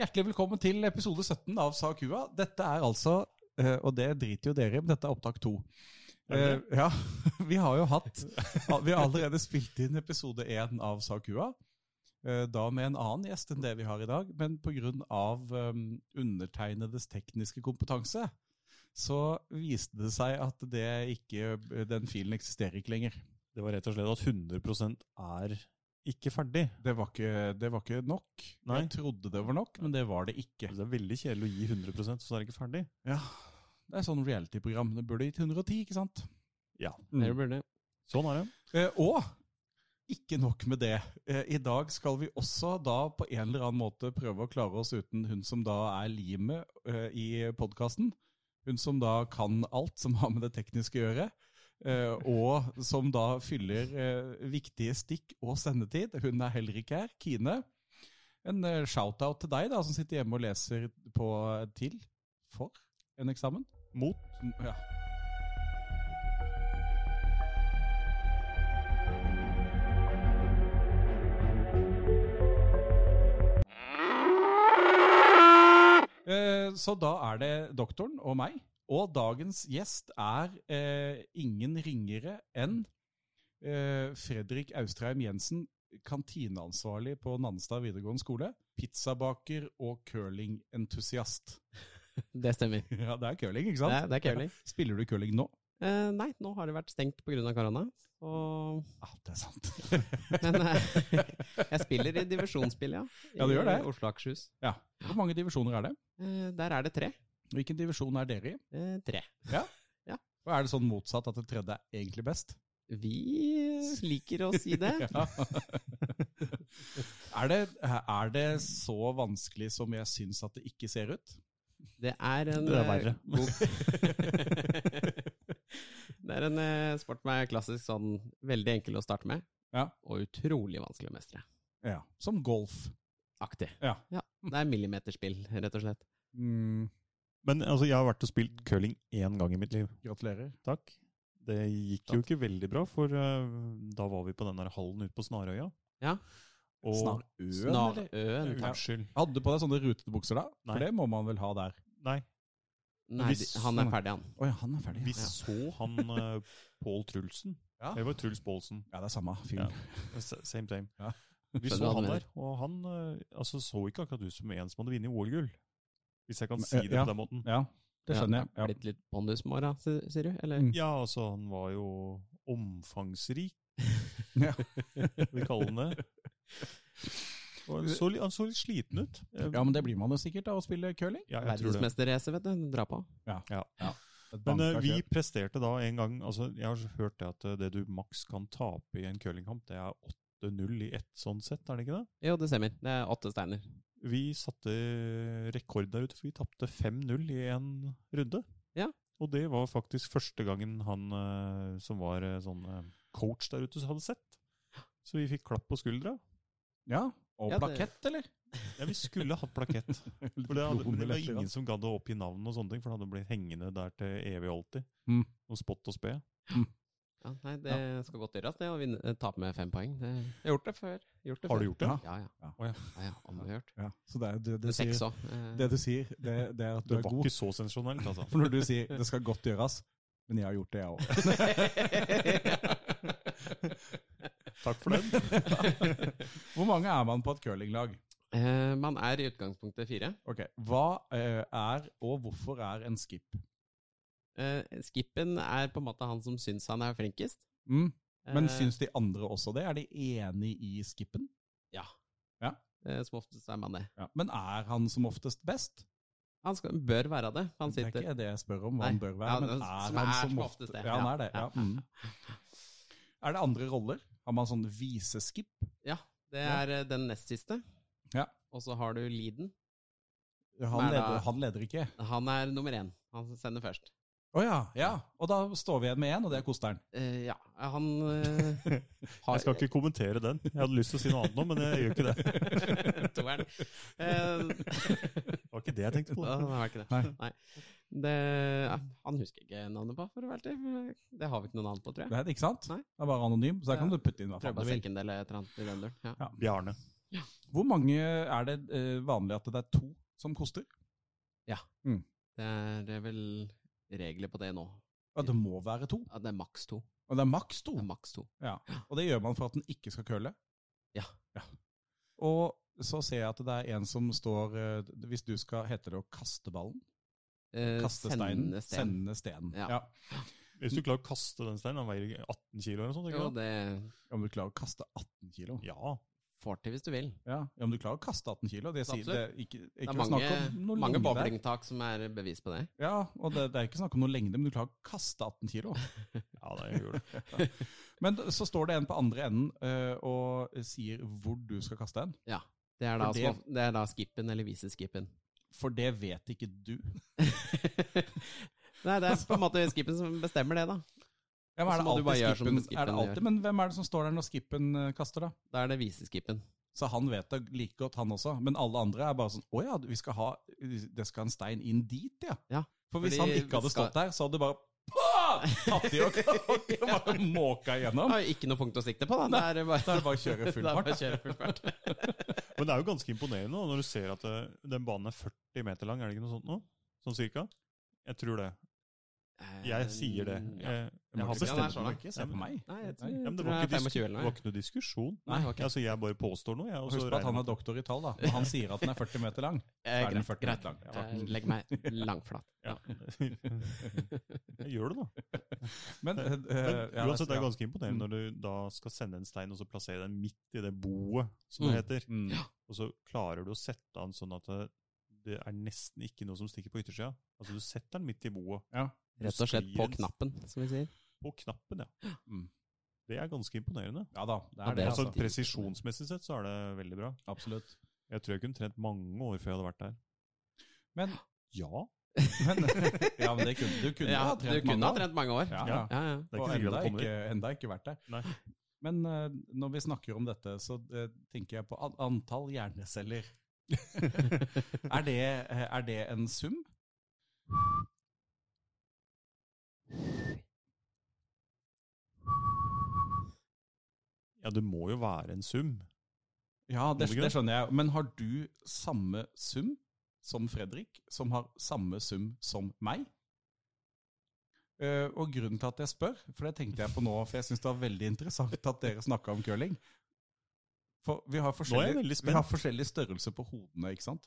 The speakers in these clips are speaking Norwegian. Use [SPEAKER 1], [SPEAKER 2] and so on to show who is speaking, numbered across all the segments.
[SPEAKER 1] Hjertelig velkommen til episode 17 av Sa kua. Dette er altså, eh, og det driter jo dere i, men dette er opptak to. Eh, ja, vi har jo hatt Vi har allerede spilt inn episode én av Sa kua. eh, Da med en annen gjest enn det vi har i dag, men pga. Um, undertegnedes tekniske kompetanse så viste det seg at det ikke, den filen eksisterer ikke lenger.
[SPEAKER 2] Det var rett og slett at 100 er ikke ferdig.
[SPEAKER 1] Det var ikke, det var ikke nok.
[SPEAKER 2] Nei.
[SPEAKER 1] Jeg trodde det var nok, men det var det ikke.
[SPEAKER 2] Det er veldig kjedelig å gi 100 så er det ikke ferdig.
[SPEAKER 1] Ja, det er sånn reality-program. Det burde gitt 110, ikke sant?
[SPEAKER 2] Ja.
[SPEAKER 1] Mm.
[SPEAKER 3] Dere burde.
[SPEAKER 2] Sånn er det.
[SPEAKER 1] Eh, og ikke nok med det. Eh, I dag skal vi også da på en eller annen måte prøve å klare oss uten hun som da er limet eh, i podkasten. Hun som da kan alt som har med det tekniske å gjøre. Eh, og som da fyller eh, viktige stikk og sendetid. Hun er heller ikke her. Kine. En eh, shout-out til deg, da, som sitter hjemme og leser på eh, til for en eksamen.
[SPEAKER 2] Mot.
[SPEAKER 1] Ja. Eh, Så da er det doktoren og meg. Og dagens gjest er eh, ingen ringere enn eh, Fredrik Austrheim Jensen, kantineansvarlig på Nanstad videregående skole, pizzabaker og curlingentusiast.
[SPEAKER 3] Det stemmer.
[SPEAKER 1] Ja, det er curling, ikke
[SPEAKER 3] Det
[SPEAKER 1] sant?
[SPEAKER 3] er, det er curling.
[SPEAKER 1] Spiller du curling nå?
[SPEAKER 3] Eh, nei, nå har det vært stengt pga. korona. Så,
[SPEAKER 1] Ja, Ah, det er sant.
[SPEAKER 3] men eh, jeg spiller i divisjonsspill, ja. I
[SPEAKER 1] Ja, du gjør det.
[SPEAKER 3] Oslo og Akershus.
[SPEAKER 1] Ja. Hvor mange divisjoner er det?
[SPEAKER 3] Eh, der er det tre.
[SPEAKER 1] Hvilken divisjon er dere i?
[SPEAKER 3] Eh, tre.
[SPEAKER 1] Og er det sånn motsatt at det tredje er egentlig best?
[SPEAKER 3] Vi liker å si det.
[SPEAKER 1] Ja. er, det, er det så vanskelig som jeg syns at det ikke ser ut?
[SPEAKER 3] Det er en
[SPEAKER 2] Det er
[SPEAKER 3] eh,
[SPEAKER 2] verre.
[SPEAKER 3] god Det er en eh, sport med klassisk sånn veldig enkel å starte med,
[SPEAKER 1] Ja.
[SPEAKER 3] og utrolig vanskelig å mestre.
[SPEAKER 1] Ja. Som golf.
[SPEAKER 3] Aktig.
[SPEAKER 1] Ja.
[SPEAKER 3] Det er millimeterspill, rett og slett.
[SPEAKER 1] Mm,
[SPEAKER 2] Men altså, jeg har vært og spilt curling én gang i mitt liv.
[SPEAKER 1] gratulerer.
[SPEAKER 2] Takk. Det gikk jo ikke veldig bra, for eh, da var vi på den der hallen ute på Snarøya.
[SPEAKER 3] Ja.
[SPEAKER 2] Og
[SPEAKER 1] Snarøen, eller?
[SPEAKER 3] Snarøen.
[SPEAKER 1] Ja.
[SPEAKER 2] Unnskyld.
[SPEAKER 1] Hadde du på deg sånne rutete bukser da?
[SPEAKER 2] Nei.
[SPEAKER 1] For det må man vel ha der.
[SPEAKER 2] Nei,
[SPEAKER 3] Nei,
[SPEAKER 2] Hvis-
[SPEAKER 3] de- han er ferdig, han.
[SPEAKER 1] Å ja, han er ferdig.
[SPEAKER 2] vi
[SPEAKER 1] ja.
[SPEAKER 2] så han eh, Pål Trulsen.
[SPEAKER 1] Ja.
[SPEAKER 2] Det var Truls Pålsen.
[SPEAKER 1] Ja, det er samme fyren.
[SPEAKER 2] S- Same, same.
[SPEAKER 1] Ja.
[SPEAKER 2] Vi
[SPEAKER 3] Skjønner
[SPEAKER 2] så
[SPEAKER 3] hva du
[SPEAKER 2] han
[SPEAKER 3] mener.
[SPEAKER 2] der, og han eh, altså, så ikke akkurat ut som en som hadde vunnet OL-gull. Hvis jeg kan si
[SPEAKER 1] Men, eh,
[SPEAKER 2] det
[SPEAKER 1] ja.
[SPEAKER 2] på den måten.
[SPEAKER 1] Ja. det skjønner jeg. Ja.
[SPEAKER 3] Blitt litt pondusmåra, sier sier du? Eller?
[SPEAKER 1] Mm.
[SPEAKER 2] Ja, altså, han var jo omfangsrik,
[SPEAKER 1] Ja.
[SPEAKER 2] vi kaller han det. Og han, så, li- han så litt sliten ut. Jeg-
[SPEAKER 1] ja, men det blir man jo sikkert av å spille curling.
[SPEAKER 2] Ja, jeg tror det.
[SPEAKER 3] Verdensmesterrace, vet du. Dra på.
[SPEAKER 1] Et
[SPEAKER 2] Men eh,
[SPEAKER 1] banka
[SPEAKER 2] vi
[SPEAKER 1] kjør.
[SPEAKER 2] presterte da en gang altså Jeg har hørt det at eh, det du maks kan tape i en curlingkamp, det er 8-0 i ett sånn sett, er det ikke det?
[SPEAKER 3] Jo, det stemmer. Det er åtte steiner.
[SPEAKER 2] Vi satte rekord der ute, for vi tapte 5-0 i en runde.
[SPEAKER 3] Ja.
[SPEAKER 2] Og det var faktisk første gangen han eh, som var eh, sånn eh, coach der ute, hadde sett. Så vi fikk klapp på skuldra.
[SPEAKER 1] Ja, og
[SPEAKER 3] Ja, det-
[SPEAKER 1] plakett, eller?
[SPEAKER 2] Ja, vi skulle hatt plakett. For det, hadde, men det var ingen som gadd å oppgi navn og sånne ting, for det hadde blitt hengende der til evig og alltid.
[SPEAKER 1] Mm.
[SPEAKER 2] Og spott og spe.
[SPEAKER 3] Ja, nei, det skal godt gjøres, det, å vinne, eh, tape med fem poeng. Det, jeg har gjort det før. Gjort det
[SPEAKER 2] Har
[SPEAKER 3] før.
[SPEAKER 2] du gjort det?
[SPEAKER 1] Ja.
[SPEAKER 3] Ja, ja.
[SPEAKER 1] Ja.
[SPEAKER 2] Å, ja.
[SPEAKER 3] ja, ja Omgjort.
[SPEAKER 1] Ja, så det, er- det, det, sier,
[SPEAKER 3] Seks Eh. òg.
[SPEAKER 1] det du sier, det, det er at du
[SPEAKER 2] Det
[SPEAKER 1] er
[SPEAKER 2] var
[SPEAKER 1] god.
[SPEAKER 2] ikke så sensasjonelt, altså.
[SPEAKER 1] For når du sier 'det skal godt gjøres', men jeg har gjort det, jeg òg.
[SPEAKER 2] Takk for den.
[SPEAKER 1] Hvor mange er man på et curlinglag?
[SPEAKER 3] Eh, man er i utgangspunktet fire.
[SPEAKER 1] Ok, Hva eh, er og hvorfor er en skip?
[SPEAKER 3] Eh, skippen er på en måte han som syns han er flinkest.
[SPEAKER 1] Mm. Men
[SPEAKER 3] Eh,
[SPEAKER 1] syns de andre også det? Er de enig i skippen?
[SPEAKER 3] eh, Som oftest er man det.
[SPEAKER 1] Ja. Men er han som oftest best?
[SPEAKER 3] Han skal, bør være det. Han
[SPEAKER 1] Det er
[SPEAKER 3] sitter
[SPEAKER 1] ikke det jeg spør om, hva han
[SPEAKER 3] Nei.
[SPEAKER 1] bør være.
[SPEAKER 3] Ja,
[SPEAKER 1] men
[SPEAKER 3] det-
[SPEAKER 1] er
[SPEAKER 3] som
[SPEAKER 1] han
[SPEAKER 3] er
[SPEAKER 1] som
[SPEAKER 3] som
[SPEAKER 1] oftest
[SPEAKER 3] oftest det.
[SPEAKER 1] Ja, han
[SPEAKER 3] Ja.
[SPEAKER 1] er det. Ja.
[SPEAKER 3] Ja.
[SPEAKER 1] Mm. Er det andre roller? Har man sånn viseskip?
[SPEAKER 3] Det
[SPEAKER 1] Ja.
[SPEAKER 3] er eh, den nest siste.
[SPEAKER 1] Ja.
[SPEAKER 3] Og så har du leaden.
[SPEAKER 1] Han
[SPEAKER 3] Nei,
[SPEAKER 1] leder,
[SPEAKER 3] da-
[SPEAKER 1] han leder ikke.
[SPEAKER 3] Han er nummer én. Han sender først.
[SPEAKER 1] Å ja, ja. Og da står vi igjen med én, og det er kosteren.
[SPEAKER 3] Eh, ja, han eh, har
[SPEAKER 2] Jeg skal ikke kommentere den. Jeg hadde lyst til å si noe annet nå, men jeg gjør ikke det.
[SPEAKER 3] Toeren. Eh,
[SPEAKER 2] Det var ikke det jeg tenkte på.
[SPEAKER 3] da var det ikke det.
[SPEAKER 1] Nei.
[SPEAKER 3] Nei. Det, ja, han husker jeg ikke navnet på, for å være ærlig. Det har vi ikke noe navn på, tror jeg.
[SPEAKER 1] Det er det, ikke sant?
[SPEAKER 3] Nei.
[SPEAKER 1] Det er bare anonym, så der kan
[SPEAKER 3] Ja.
[SPEAKER 1] du putte inn hva faen du vil.
[SPEAKER 3] Krabbesekken eller et eller annet i den duren. Ja.
[SPEAKER 2] Bjarne.
[SPEAKER 1] Hvor mange er det eh, vanlig at det er to som koster?
[SPEAKER 3] Det er, det er vel regler på det nå.
[SPEAKER 1] Ja, det må være to.
[SPEAKER 3] Ja, det er maks to.
[SPEAKER 1] Og det er maks to.
[SPEAKER 3] Det er maks to.
[SPEAKER 1] Og det gjør man for at den ikke skal køle?
[SPEAKER 3] Ja.
[SPEAKER 1] Og så ser jeg at det er en som står eh, Hvis du skal Heter det å kaste ballen?
[SPEAKER 3] Eh,
[SPEAKER 1] Kaste steinen?
[SPEAKER 3] sende sten.
[SPEAKER 1] Sende stenen.
[SPEAKER 3] Ja.
[SPEAKER 1] Ja.
[SPEAKER 2] Hvis du klarer å kaste den steinen, den veier 18 kilo eller noe sånt?
[SPEAKER 3] Jo,
[SPEAKER 2] ikke sant?
[SPEAKER 3] det
[SPEAKER 1] Om du klarer å kaste 18 kilo?
[SPEAKER 2] Ja.
[SPEAKER 3] får til hvis du vil.
[SPEAKER 1] Ja, ja men du klarer å kaste 18 kilo. Det, sier, det,
[SPEAKER 3] Absolutt.
[SPEAKER 1] er ikke,
[SPEAKER 3] Det
[SPEAKER 1] ikke
[SPEAKER 3] er
[SPEAKER 1] snakk
[SPEAKER 3] mange,
[SPEAKER 1] om noe
[SPEAKER 3] mange
[SPEAKER 1] lengde der.
[SPEAKER 3] bowlingtak som er bevis på det.
[SPEAKER 1] Ja, og det, det er ikke snakk om noe lengde, men du klarer å kaste 18 kilo.
[SPEAKER 2] ja, det gjør det.
[SPEAKER 1] Men d- så står det en på andre enden eh, og sier hvor du skal kaste den.
[SPEAKER 3] Det er da,
[SPEAKER 1] For det-
[SPEAKER 3] som of- det er da skippen eller viseskippen.
[SPEAKER 1] For det vet ikke du.
[SPEAKER 3] Nei, det er på en måte skippen som bestemmer det, da.
[SPEAKER 1] Ja, men
[SPEAKER 3] Så
[SPEAKER 1] er, det
[SPEAKER 3] må du bare
[SPEAKER 1] alltid
[SPEAKER 3] gjøre som
[SPEAKER 1] skippen,
[SPEAKER 3] skippen
[SPEAKER 1] er det alltid?
[SPEAKER 3] gjør.
[SPEAKER 1] Men hvem er det som står der når skippen eh, kaster, da?
[SPEAKER 3] Da er det viseskippen.
[SPEAKER 1] Så han vet det like godt, han også. Men alle andre er bare sånn Å ja, vi skal ha Det skal en stein inn dit, ja.
[SPEAKER 3] Ja,
[SPEAKER 1] For hvis
[SPEAKER 3] fordi
[SPEAKER 1] han ikke
[SPEAKER 3] vi
[SPEAKER 1] hadde
[SPEAKER 3] skal-
[SPEAKER 1] stått der, så hadde det bare «Pah!» tatt i og, og bare måka
[SPEAKER 3] Det
[SPEAKER 1] igjennom.
[SPEAKER 3] har jo ikke noe punkt å sikte på, da.
[SPEAKER 1] Da
[SPEAKER 3] Det er bare,
[SPEAKER 1] er det bare å kjøre
[SPEAKER 3] det
[SPEAKER 1] full
[SPEAKER 3] er bare
[SPEAKER 1] fart.
[SPEAKER 3] å kjøre full fart.
[SPEAKER 2] Men det er jo ganske imponerende da, når du ser at eh, den banen er 40 meter lang, er det ikke noe sånt nå? Sånn cirka? Jeg tror det. Jeg sier det.
[SPEAKER 3] Ja.
[SPEAKER 2] Jeg,
[SPEAKER 1] Jeg har
[SPEAKER 3] Ja, den er
[SPEAKER 1] bestemt
[SPEAKER 3] så
[SPEAKER 1] meg
[SPEAKER 3] lang.
[SPEAKER 1] ikke. Se på meg.
[SPEAKER 3] Nei, jeg
[SPEAKER 1] Nei,
[SPEAKER 3] tror,
[SPEAKER 2] ja, men det,
[SPEAKER 3] tror
[SPEAKER 2] var ikke
[SPEAKER 3] det er 25
[SPEAKER 2] diskus- det
[SPEAKER 3] eller
[SPEAKER 2] var
[SPEAKER 3] noe.
[SPEAKER 2] ikke noe diskusjon.
[SPEAKER 3] Nei, ok.
[SPEAKER 2] Altså, jeg bare påstår noe. Jeg, og så
[SPEAKER 1] Husk på at
[SPEAKER 2] regner
[SPEAKER 1] han
[SPEAKER 2] jeg
[SPEAKER 1] er doktor i tall, da. Når han sier at den er 40 meter lang, så
[SPEAKER 3] Eh,
[SPEAKER 1] er den
[SPEAKER 3] greit,
[SPEAKER 1] 40
[SPEAKER 3] greit.
[SPEAKER 1] meter lang. Ja.
[SPEAKER 3] Jeg legger meg langflat. Ja.
[SPEAKER 2] med- jeg gjør det, da.
[SPEAKER 1] Men, eh,
[SPEAKER 2] Men
[SPEAKER 1] ja,
[SPEAKER 2] uansett, det er
[SPEAKER 1] ja.
[SPEAKER 2] ganske imponerende
[SPEAKER 1] Mm.
[SPEAKER 2] når du da skal sende en stein og så plassere den midt i det boet, som det
[SPEAKER 3] Mm.
[SPEAKER 2] heter.
[SPEAKER 1] Mm.
[SPEAKER 2] Og så klarer du å sette den sånn at det, det er nesten ikke noe som stikker på yttersida. Altså, du setter den midt i boet.
[SPEAKER 1] Ja.
[SPEAKER 3] Rett og slett på knappen, som vi sier.
[SPEAKER 2] På knappen, ja.
[SPEAKER 1] Mm.
[SPEAKER 2] Det er ganske imponerende.
[SPEAKER 1] ja da, det
[SPEAKER 3] Ja,
[SPEAKER 1] er
[SPEAKER 3] det
[SPEAKER 1] det.
[SPEAKER 3] er
[SPEAKER 2] altså,
[SPEAKER 1] Altså.
[SPEAKER 2] Presisjonsmessig sett så er det veldig bra.
[SPEAKER 1] Absolutt.
[SPEAKER 2] Jeg tror jeg kunne trent mange år før jeg hadde vært der.
[SPEAKER 1] Men,
[SPEAKER 2] Ja,
[SPEAKER 1] men, ja, men det kunne, du kunne
[SPEAKER 3] Ja,
[SPEAKER 1] ha
[SPEAKER 3] du
[SPEAKER 1] trent
[SPEAKER 3] kunne
[SPEAKER 1] mange
[SPEAKER 3] ha
[SPEAKER 1] år.
[SPEAKER 3] trent mange år.
[SPEAKER 1] Ja,
[SPEAKER 2] Ja.
[SPEAKER 1] ja.
[SPEAKER 3] Ja, ja.
[SPEAKER 2] det er
[SPEAKER 1] Og
[SPEAKER 2] ikke
[SPEAKER 1] enda
[SPEAKER 2] sikkert jeg kommer
[SPEAKER 1] ikke,
[SPEAKER 2] dit.
[SPEAKER 1] enda ikke vært der.
[SPEAKER 2] Nei.
[SPEAKER 1] Men eh, når vi snakker om dette, så eh, tenker jeg på an antall hjerneceller. er, det, eh, er det en sum?
[SPEAKER 2] Ja, det må jo være en sum.
[SPEAKER 1] Ja, det,
[SPEAKER 2] Må det ikke
[SPEAKER 1] det
[SPEAKER 2] det?
[SPEAKER 1] skjønner jeg. Men har du samme sum som Fredrik, som har samme sum som meg? Eh, og grunnen til at jeg spør, for det tenkte jeg på nå, for jeg syns det var veldig interessant at dere snakka om curling. For vi har,
[SPEAKER 2] Nå er jeg
[SPEAKER 1] forskjellig,
[SPEAKER 2] veldig
[SPEAKER 1] vi har
[SPEAKER 2] spent.
[SPEAKER 1] forskjellig størrelse på hodene, ikke sant?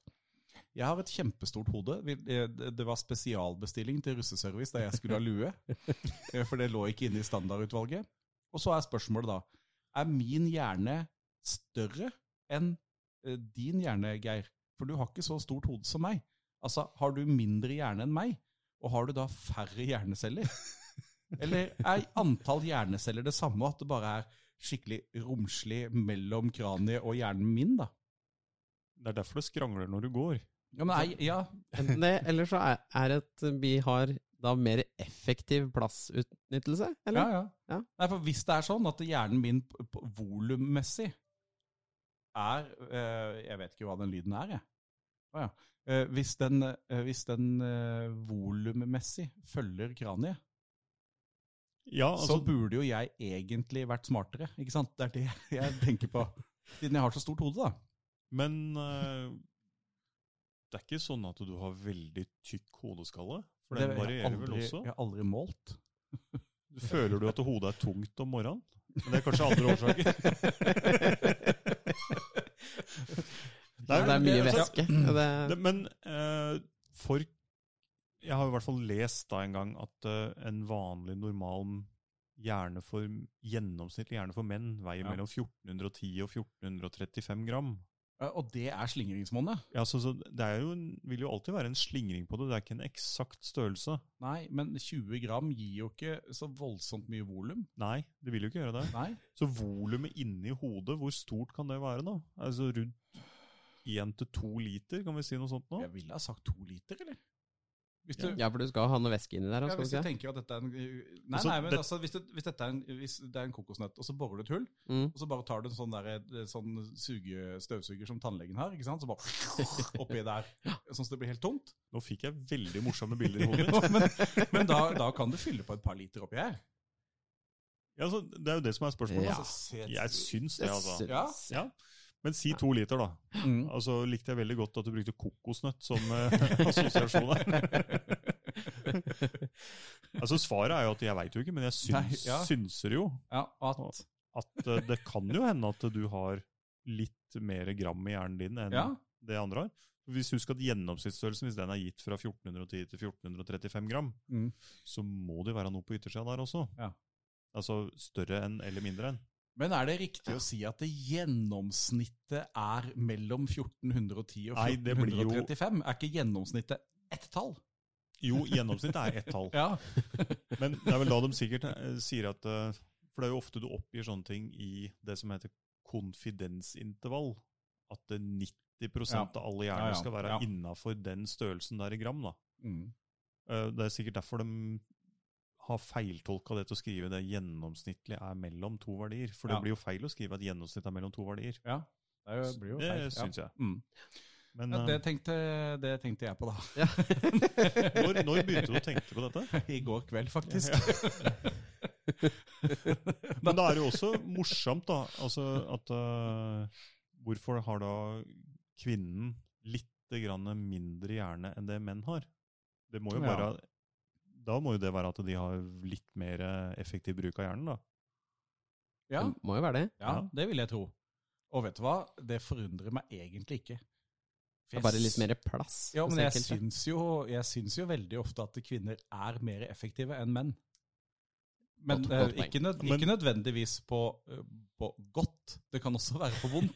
[SPEAKER 1] Jeg har et kjempestort hode. Vi- eh, Det det var spesialbestilling til russeservice da jeg skulle ha lue, eh, for det lå ikke inne i standardutvalget. Og så er spørsmålet da, er min hjerne større enn eh, din hjerne, Geir? For du har ikke så stort hode som meg. Altså, har du mindre hjerne enn meg? Og har du da færre hjerneceller? Eller er antall hjerneceller det samme, at det bare er skikkelig romslig mellom kraniet og hjernen min, da?
[SPEAKER 2] Det er derfor det skrangler når du går.
[SPEAKER 1] Ja, men er, ja,
[SPEAKER 3] Enten det, eller så er, er at vi har da mer effektiv plassutnyttelse,
[SPEAKER 1] ja,
[SPEAKER 3] eller?
[SPEAKER 1] ja.
[SPEAKER 3] Ja.
[SPEAKER 1] Nei, for hvis det er sånn at hjernen min p- p- volummessig er eh, Jeg vet ikke hva den lyden er, jeg. Å ja. Eh, hvis den, eh, hvis den eh, volummessig følger kraniet,
[SPEAKER 2] Ja, altså,
[SPEAKER 1] så burde jo jeg egentlig vært smartere, ikke sant? Det er det jeg tenker på. Siden jeg har så stort hode, da.
[SPEAKER 2] Men eh, det er ikke sånn at du har veldig tykk hodeskalle. For
[SPEAKER 1] Det-
[SPEAKER 2] den
[SPEAKER 1] jeg har
[SPEAKER 2] varierer vel
[SPEAKER 1] aldri-
[SPEAKER 2] også.
[SPEAKER 1] Jeg har aldri målt.
[SPEAKER 2] Føler du at hodet er tungt om morgenen? Men det er kanskje andre årsaker.
[SPEAKER 3] Ja, det er mye
[SPEAKER 2] altså,
[SPEAKER 3] væske. Det,
[SPEAKER 1] Mm.
[SPEAKER 2] det- Men eh, for Jeg har i hvert fall lest da en gang at eh, en vanlig, normal hjerne for gjennomsnittlig hjerne for menn veier
[SPEAKER 1] Ja.
[SPEAKER 2] mellom 1410 og 1435 gram.
[SPEAKER 1] Eh, Og det er slingringsmonnet.
[SPEAKER 2] Ja, så, så Det er jo, en- vil jo alltid være en slingring på det, det er ikke en eksakt størrelse.
[SPEAKER 1] Nei, men 20 gram gir jo ikke så voldsomt mye volum.
[SPEAKER 2] Nei, det vil jo ikke gjøre det.
[SPEAKER 1] Nei.
[SPEAKER 2] Så volumet inni hodet, hvor stort kan det være da? Altså rundt 1-2 liter, kan vi si noe sånt nå?
[SPEAKER 1] Jeg ville ha sagt to liter, eller? Hvis du,
[SPEAKER 3] ja, for du skal ha noe væske inni der,
[SPEAKER 1] Ja,
[SPEAKER 3] skal du
[SPEAKER 1] hvis du
[SPEAKER 3] ikke?
[SPEAKER 1] tenker at dette er en eh, Nei,
[SPEAKER 2] Altså,
[SPEAKER 1] nei, men
[SPEAKER 2] det-
[SPEAKER 1] altså, hvis, det, hvis, dette er en, hvis det er en kokosnøtt, og så borer du et hull,
[SPEAKER 3] det? Mm.
[SPEAKER 1] og så bare tar du en sånn, der, eh, sånn suge, støvsuger som tannlegen har, ikke sant? så bare oppi der, sånn at det blir helt tomt.
[SPEAKER 2] Nå fikk jeg veldig morsomme bilder i hodet mitt.
[SPEAKER 1] Men, men da, da kan du fylle på et par liter oppi her.
[SPEAKER 2] Ja, så det er jo det som er spørsmålet.
[SPEAKER 3] Ja.
[SPEAKER 1] Altså, se-
[SPEAKER 2] Jeg syns det, altså.
[SPEAKER 3] Det
[SPEAKER 1] Ja.
[SPEAKER 3] syns-
[SPEAKER 2] Ja. Men si to liter, da.
[SPEAKER 1] Mm.
[SPEAKER 2] Altså likte jeg veldig godt at du brukte kokosnøtt som eh, assosiasjon her. altså Svaret er jo at jeg veit jo ikke, men jeg
[SPEAKER 1] Nei,
[SPEAKER 2] syns,
[SPEAKER 1] ja.
[SPEAKER 2] synser jo
[SPEAKER 1] Ja, at
[SPEAKER 2] at eh, det kan jo hende at du har litt mer gram i hjernen din enn
[SPEAKER 1] Ja.
[SPEAKER 2] det andre har. Hvis Husk at gjennomsnittsstørrelsen hvis den er gitt fra 1410 til 1435 gram,
[SPEAKER 1] Mm.
[SPEAKER 2] så må det jo være noe på yttersida der også.
[SPEAKER 1] Ja.
[SPEAKER 2] Altså større enn eller mindre enn.
[SPEAKER 1] Men er det riktig å si at det gjennomsnittet er mellom 1410 og
[SPEAKER 2] Nei, det blir jo-
[SPEAKER 1] 1435? Er ikke gjennomsnittet ett tall?
[SPEAKER 2] Jo, gjennomsnittet er ett tall.
[SPEAKER 1] Ja.
[SPEAKER 2] Men det er vel da de sikkert eh, sier at eh, For det er jo ofte du oppgir sånne ting i det som heter konfidensintervall. At eh, 90
[SPEAKER 1] Ja.
[SPEAKER 2] av alle
[SPEAKER 1] Ja,
[SPEAKER 2] hjerner
[SPEAKER 1] ja,
[SPEAKER 2] skal være
[SPEAKER 1] ja.
[SPEAKER 2] innafor den størrelsen der i gram. da.
[SPEAKER 1] Mm.
[SPEAKER 2] Eh, Det er sikkert derfor de har feiltolka det til å skrive det gjennomsnittlig er mellom to verdier. For
[SPEAKER 1] Ja.
[SPEAKER 2] det blir jo feil å skrive at gjennomsnitt er mellom to verdier.
[SPEAKER 1] ja. Det er jo- blir jo
[SPEAKER 2] Det
[SPEAKER 1] feil.
[SPEAKER 2] syns jeg.
[SPEAKER 1] Mm.
[SPEAKER 2] Men
[SPEAKER 1] Ja, det,
[SPEAKER 2] eh,
[SPEAKER 1] tenkte, det tenkte jeg på da.
[SPEAKER 3] Ja.
[SPEAKER 2] når, når begynte du å tenke på dette?
[SPEAKER 1] I går kveld, faktisk.
[SPEAKER 2] Men da er det jo også morsomt, da. Altså at eh, Hvorfor har da kvinnen litt grann mindre hjerne enn det menn har? Det må jo
[SPEAKER 1] Ja.
[SPEAKER 2] bare Da må jo det være at de har litt mer eh, effektiv bruk av hjernen, da.
[SPEAKER 1] Ja,
[SPEAKER 3] Det må jo være det.
[SPEAKER 1] ja,
[SPEAKER 2] Ja.
[SPEAKER 1] det vil jeg tro. Og vet du hva? Det forundrer meg egentlig ikke. For jeg
[SPEAKER 3] Det er bare
[SPEAKER 1] s-
[SPEAKER 3] litt mer plass.
[SPEAKER 1] Ja,
[SPEAKER 3] hos
[SPEAKER 1] men jeg
[SPEAKER 3] enkelte.
[SPEAKER 1] syns, jo, jeg syns jo veldig ofte at kvinner er mer effektive enn menn. Men
[SPEAKER 3] Godt-
[SPEAKER 1] det er
[SPEAKER 3] godt poeng.
[SPEAKER 1] ikke, nød,
[SPEAKER 2] Men-
[SPEAKER 1] ikke nødvendigvis på, eh, på godt, det kan også være på vondt.